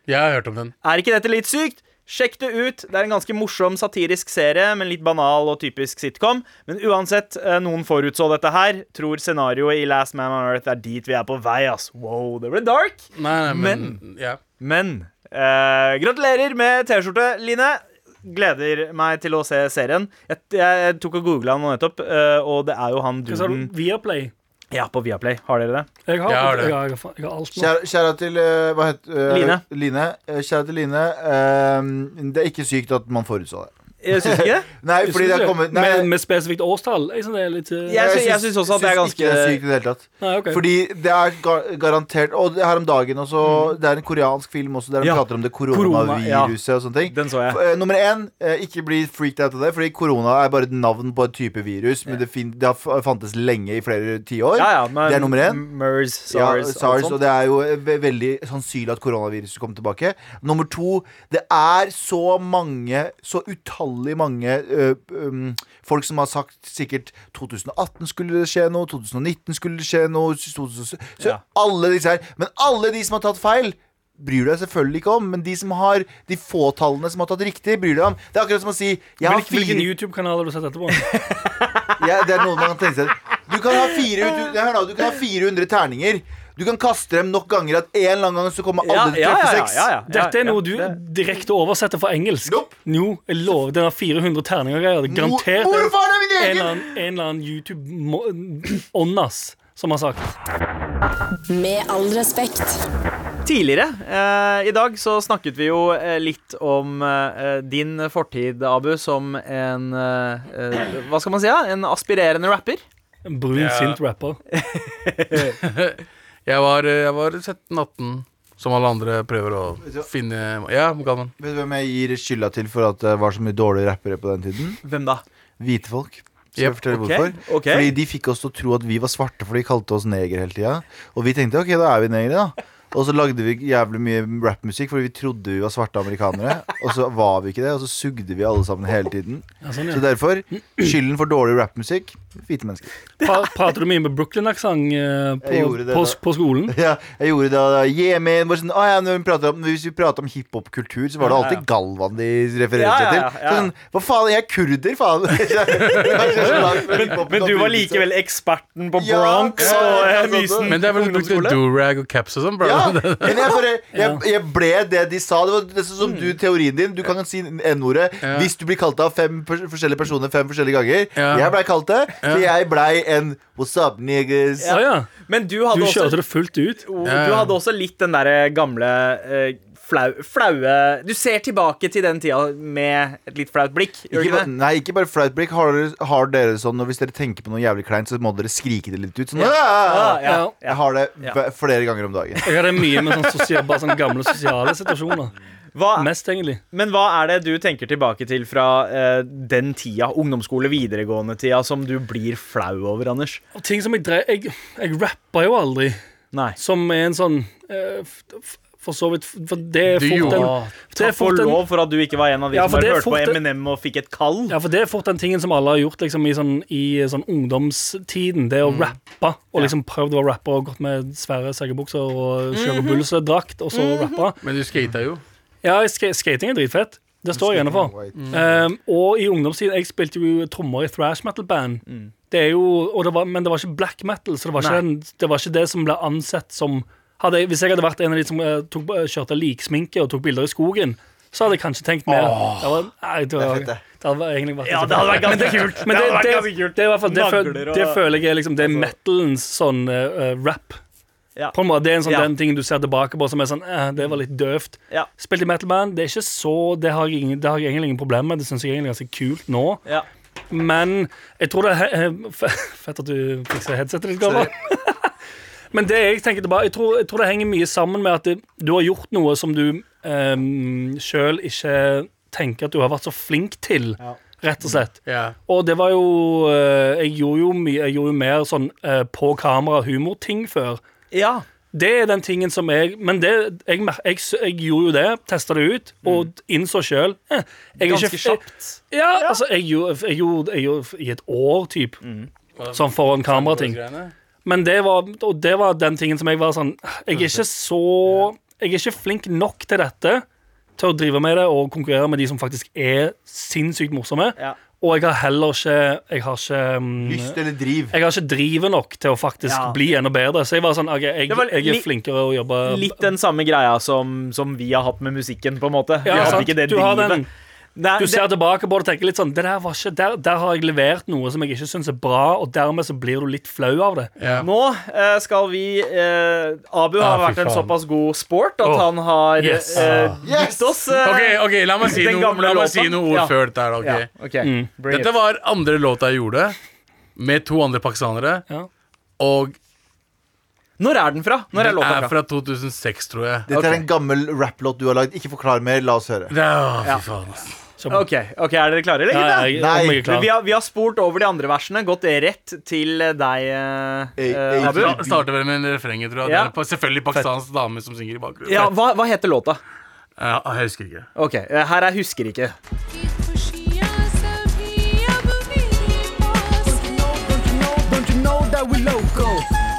Jeg har hørt om den.
Er ikke dette litt sykt? Sjekk det ut. Det er en ganske morsom satirisk serie, men litt banal og typisk sitcom. Men uansett, eh, noen forutså dette her. Tror scenarioet i Last Man on Earth er dit vi er på vei, ass. Wow, det ble dark.
Nei, nei, men, ja.
Men eh, gratulerer med T-skjorte, Line. Gleder meg til å se serien. Jeg, jeg tok og googla nå nettopp, eh, og det er jo han
Hva sa du?
Mm.
duden
Viaplay?
Ja, på Viaplay. Har dere det?
Jeg har,
Jeg har det.
jeg har, jeg har, jeg har alt nå.
Kjære, kjære til eh, Hva het eh,
Line.
Line. Eh, Kjære til Line. eh, det er ikke sykt at man forutså det.
Jeg Syns ikke det?
Nei, fordi det er kommet nei,
med, med spesifikt årstall? Jeg synes det er litt eh,
Jeg sy- jeg syns også at det er
syns ikke det
ganske-
er sykt i det hele tatt.
Nei, ok.
Fordi det er ga- garantert Og det her om dagen også Det er en koreansk film også der
Mm.
de
Ja.
prater om det koronaviruset
ja.
og sånne ting.
Den så jeg.
F- eh, nummer én, eh, ikke bli freaked out av det, fordi korona er bare et navn på et type virus. Men det, fin det har f- fantes lenge i flere tiår.
Ja, ja, men
Det er nummer én.
MERS,
SARS,
SARS,
ja,
alt
SARS
sånt.
og sånn. det er jo eh, ve- veldig sannsynlig at koronaviruset kommer tilbake. Nummer to, det er så mange, så utallig mange ø, um, folk som har sagt sikkert 2018 skulle det skje noe, 2019 skulle det skje noe, 2017 Så
Ja.
alle disse her. Men alle de som har tatt feil Bryr du deg selvfølgelig ikke om, men de som har De få tallene som har tatt riktig, bryr du deg om. Det er akkurat som å si jeg har
Hvilken, hvilken
fire,
YouTube-kanal har du sett etterpå?
ja, det er noe man kan tenke seg Du kan ha, fire, du, hør nå, du kan ha 400 terninger Du kan kaste dem nok ganger At en eller annen gang så kommer alle til å treffe seks
Dette er noe du
det-
direkte oversetter fra engelsk.
Nope.
Jo, jeg lover. Den har 400 terninger og greier. Det er
Mor-
garantert en,
Hvorfor er det min
en,
egen?
eller annen, en eller annen YouTube-åndas som har sagt
Med all respekt.
Tidligere eh, i dag så snakket vi jo eh, litt om eh, din fortid, Abu, som en eh, eh, Hva skal man si? Ja? En aspirerende rapper.
en brun,
Ja.
sint rapper.
Jeg var, eh, jeg var 17-18, som alle andre prøver å finne Ja, Galvan.
Vet du hvem jeg gir skylda til for at det var så mye dårlige rappere på den tiden?
Hvem da?
Hvite folk Skal
Yep,
jeg fortelle
ok,
hvorfor
ok.
Fordi de fikk oss til å tro at vi var svarte For de kalte oss neger hele tiden Og vi tenkte, ok, da er vi negere da og så lagde vi jævlig mye rapmusikk Fordi vi trodde vi var svarte amerikanere Og så var vi ikke det, og så sugde vi alle sammen hele tiden
Ja, sånn,
Så
ja.
derfor, skylden for dårlig rapmusikk Hvite mennesker
Pra, prater du mye med Brooklyn-aksent eh, på,
Jeg gjorde det
på,
da.
på skolen?
Ja, jeg gjorde det. da. Yeah, man. Bare sånn, «Å ja, når vi prater om, hvis vi prater om hiphop-kultur, så
Ja,
var det
ja, ja.
alltid Galvan de refererte
Ja, ja, ja,
til.
ja.
Så Sånn, Hva faen, jeg er kurder, faen! Kanskje jeg er så langt fra hiphopen
Men du var
opprinnelse.
likevel eksperten på
Ja,
Bronx
ja,
og
ja,
eh,
sant, sant.
Mysen
Men det er vel brukte
ungdomsskole.
durag og caps og sånn, bro.
Mm.
ja, men jeg, bare, jeg, jeg ble det de sa. Det var det som du, teorien politikken din. Du kan si N-ordet
Ja.
hvis du blir kalt av fem pers forskjellige personer fem forskjellige ganger.
Ja.
Jeg blei kalt det, så jeg blei en What's up, niggas?
Å ja.
Men du hadde
Du
også
kjørte det fullt ut.
Jo,
Ja, ja.
Du hadde også litt den derre gamle eh, flau, flaue Du ser tilbake til den tida med et litt flaut blikk. Gjør
Ikke
du
bare,
ikke det?
nei, ikke bare flaut blikk. Har, dere- har dere sånn når hvis dere tenker på noe jævlig kleint, så må dere skrike det litt ut? Sånn,
Ja,
«Aah!»
ja,
Jeg
ja.
har det
Ja.
b- flere ganger om dagen.
Jeg hadde mye med sånn sosial, bare sånn gamle sosiale situasjoner.
Hva,
Mest, egentlig.
men hva er det du tenker tilbake til fra eh, den tida, ungdomsskole, videregående-tida, som du blir flau over, Anders?
Og ting som jeg drev Jeg, jeg rappa jo aldri.
Nei.
Som er en sånn eh, f- f- For så vidt For det er
Du
fort en
gjorde-
det er
Takk for
fort en-
lov for at du ikke var en av de
Ja,
som
for det
bare
er
hørte på
fort en-
Eminem og fikk et kall.
Ja, for det er fort den tingen som alle har gjort liksom, i, sånn, i eh, sånn ungdomstiden. Det å rappe. Og liksom prøvd å være rapper og gått med svære seggebukser og kjørebulsedrakt, og så rappe.
Men du skata jo.
Ja, sk skating er dritfett. Det står jeg gjerne for.
Mm.
Um, og i ungdomstiden Jeg spilte jo trommer i thrash metal-band. Det er jo, og det var, men det var ikke black metal, så det var ikke,
Nei.
den, det, var ikke det som ble ansett som hadde jeg, Hvis jeg hadde vært en av de som eh, tok, eh, kjørte liksminke og tok bilder i skogen, så hadde jeg kanskje tenkt mer. Det, var, nei, det, var,
fett,
det
det.
hadde egentlig vært
Ja, det hadde vært ganske kult.
men det,
hadde vært
det,
ganske
det,
kult.
er i hvert fall, det, føl,
Nagler og- Altså-
det føler jeg er liksom, det er metalens sånn eh, eh, rap.
Ja.
På en måte, Det er en sånn
Ja.
den tingen du ser tilbake på som er sånn eh, Det var litt døvt.
Ja.
Spilt i metalband. Det er ikke så Det har jeg, ingen, det har jeg egentlig ingen problemer med. Det syns jeg egentlig er ganske kult nå.
Ja.
Men jeg tror det er he- he- f- Fett at du fikser headsetet ditt, Galvan. Men det jeg tenker tilbake, jeg tror, jeg tror det henger mye sammen med at det, du har gjort noe som du um, sjøl ikke tenker at du har vært så flink til, rett og slett.
Ja.
Og det var jo eh, Jeg gjorde jo, mye, jeg gjorde jo mer sånn eh, på kamera humorting før.
ja.
Det er den tingen som jeg Men det, jeg, mer- jeg, s- jeg gjorde jo det, testa det ut, og innså sjøl eh, jeg er ikke-
Mm. Ganske kjapt.
ja, altså, jeg gjorde, jeg gjorde, jeg gjorde i et år, typ.
Mm.
Sånn foran kamerating. Men det var, og det var den tingen som jeg var sånn Jeg er ikke så Jeg er ikke flink nok til dette til å drive med det og konkurrere med de som faktisk er sinnssykt morsomme.
Ja.
Og jeg har heller ikke Jeg har ikke mm,
Lyst eller driv.
jeg har ikke drivet nok til å faktisk
Ja.
bli enda bedre. Så jeg var sånn, ok, jeg,
Det var
jeg er
litt-
flinkere å jobbe
Litt den samme greia som, som vi har hatt med musikken, på en måte. vi hadde
sant.
ikke det
Du har den-
drivet. Nei,
Du
det-
ser tilbake på det og tenker litt sånn det der, var ikke, der, der har jeg levert noe som jeg ikke syns er bra, og dermed så blir du litt flau av det.
Ja.
Nå eh, skal vi eh, Abu har
Ah, fy
vært en
faen.
såpass god sport at
Åh,
han har
yes.
eh,
Yes!
gitt oss eh,
Ok, ok, la meg si
Den
noe,
gamle
la meg
låta.
si noe ord
Ja.
før dette. her,
ja,
ok?
ok.
Mm.
Bring
Dette
it.
var andre låta jeg gjorde, med to andre pakistanere.
Ja.
Og
Når er den fra? Når er
den
låta
er
fra?
fra 2006, tror jeg.
Dette er en gammel rapplåt du har lagd. Ikke forklar mer. La oss høre.
Det er, å,
Ja.
fy faen, ass.
Ok, ok, Er dere klare, eller?
Ja,
gutta?
jeg,
Nei,
om jeg er
Men
klar.
vi, har, vi har spurt over de andre versene, gått rett til eh, deg, eh, eh,
Eh, eh,
Abu.
Sta- Starter vel med refrenget, tror jeg.
Ja.
Det er pa- selvfølgelig pakistansk dame som synger i bakgrunnen.
Ja, hva, hva heter låta?
Ja, jeg husker ikke.
Ok, eh, Her er Husker ikke.
खुशियाँ सभी अब मेरे पास हैं।
Don't you know, don't you know that we local?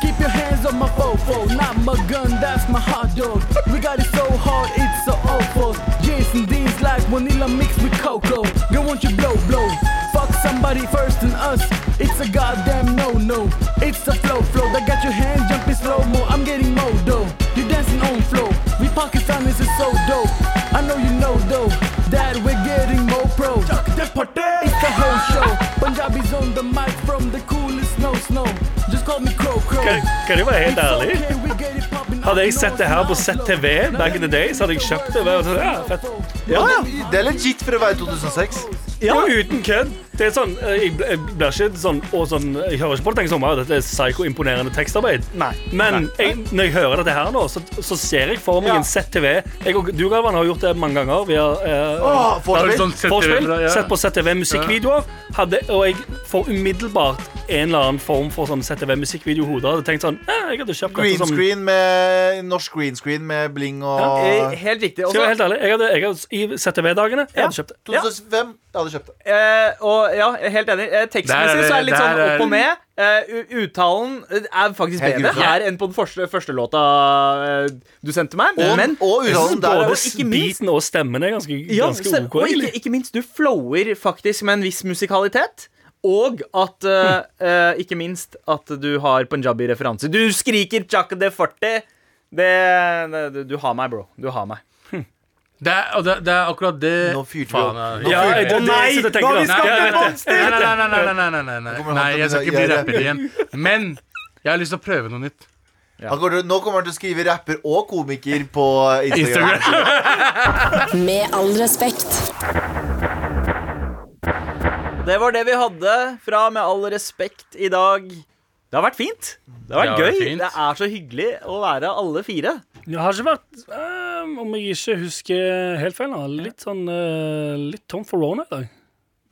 Keep your hands on my fofo, not my gun, that's my hot dog. We got it so hard, it's so awful. J's and D's like vanilla mixed with cocoa. Go want you blow, blow. Fuck somebody first than us. It's a goddamn no-no. It's a flow, flow that got your hands jumping slow-mo. I'm getting modo. You dancing on flow. We Pakistanis is so dope. I know you know though that we're getting more pro. It's the whole show. Punjabi's on the mic from the coolest no snow. Just call me Crow Crow.
Kan, kan jeg være helt ærlig? Hadde jeg sett det her på ZTV back in the day, så hadde jeg kjøpt det. Bare sånn, ja, fett.
Ja, ja. Det er legit for å være 2006.
Ja, uten kødd. Det er sånn, eh, jeg, bl- jeg blir ikke sånn, og sånn Jeg hører ikke på det tenker sånn wow, dette er psyko-imponerende tekstarbeid.
Nei.
Men jeg, når jeg hører dette her nå, så, så ser jeg for meg
Ja.
en ZTV. Jeg og du, Galvan, har gjort det mange ganger. Vi har eh,
Åh,
Det er
forspill.
sånn setter
Forspill,
bra, ja.
sett på ZTV musikkvideoer, hadde, og jeg får umiddelbart en eller annen form for sånn ZTV musikkvideo i hodet. Hadde tenkt sånn, eh, jeg hadde kjøpt
Green
dette som
screen med norsk green screen med bling
Eh,
og
Helt riktig.
Skal
Også-
jeg være helt ærlig, jeg hadde, jeg hadde, I ZTV-dagene jeg
Ja.
hadde kjøpt det.
2005. Jeg hadde kjøpt det.
Eh, og ja, jeg er helt enig. Eh,
Der er
tekstmessig
det-
så er det litt
der
sånn
er det-
opp og ned. Eh, u- uttalen eh, er faktisk
Helt
bedre
grusomt.
her enn på den første, første låta eh, du sendte meg.
Og,
Men
og uttalen der
Og
Både
ikke minst-
biten og stemmen er ganske,
ja,
ganske
så-
OK.
og
egentlig.
ikke, ikke minst, du flower faktisk med en viss musikalitet. Og at eh, eh, ikke minst at du har punjabi-referanser. Du skriker 'chaka de forte'. Det, det, du- du har meg, bro. Du har meg.
Det er, og det, det er akkurat det
Nå fyrte vi
Faen,
opp.
Ja,
ja.
fyrer
jeg-
vi.
det er det
Å nei,
jeg sitter og
nå har
tenker
vi
da.
skapt
Ja, jeg
et
vet det.
monster!
Nei, nei, nei, nei, nei, nei, nei, nei.
kommer han
nei
til å
jeg skal ikke
gjøre
bli
det.
rapper igjen. Men jeg har lyst til å prøve noe nytt.
Han kommer til- Nå kommer han til å skrive rapper og komiker på Instagram.
Med all respekt.
Det var det vi hadde fra Med all respekt i dag. Det har vært fint. Det har vært
Det har vært
gøy.
fint.
Det er så hyggelig å være alle fire.
Det har ikke vært eh, Om jeg ikke husker helt feil, da. Litt sånn eh, Litt tom for Rona i dag.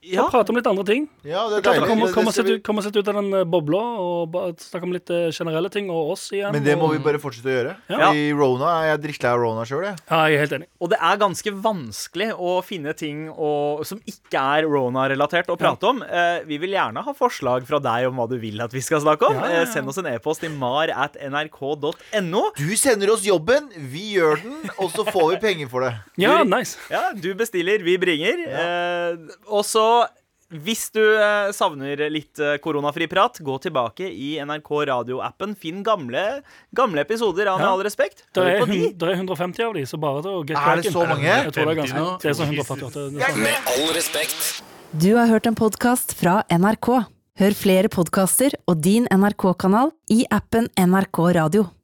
Ja,
Prate om litt andre ting.
Ja, det er
Klart,
deilig.
kom,
Det-
kom,
det
og
skal
sett
vi-
ut, kom og sett ut av den eh, bobla og ba- snakke om litt eh, generelle ting og oss igjen.
Men det må
og,
vi bare fortsette å gjøre.
Ja.
I Rona, Jeg er drittlei av Rona sjøl, jeg.
Ja, jeg er helt enig.
Og det er ganske vanskelig å finne ting å, som ikke er Rona-relatert å prate om. Eh, vi vil gjerne ha forslag fra deg om hva du vil at vi skal snakke om. Eh, send oss en e-post til mar at nrk.no.
Du sender oss jobben, vi gjør den, og så får vi penger for det.
Ja,
Du-
nice.
Ja, du bestiller, vi bringer. Eh, og så, hvis du eh, savner litt eh, koronafri prat, gå tilbake i NRK radioappen. Finn gamle, gamle episoder av Med
Ja.
all respekt.
Det er,
Hør på de.
hun- det er 150 av de, så bare til å get
Er det
cracking.
så mange?
Jeg tror det er
50
ganske
nå?
Det er sånn 148. det er sånn.
Med all respekt.
Du har hørt en podkast fra NRK. Hør flere podkaster og din NRK-kanal i appen NRK Radio.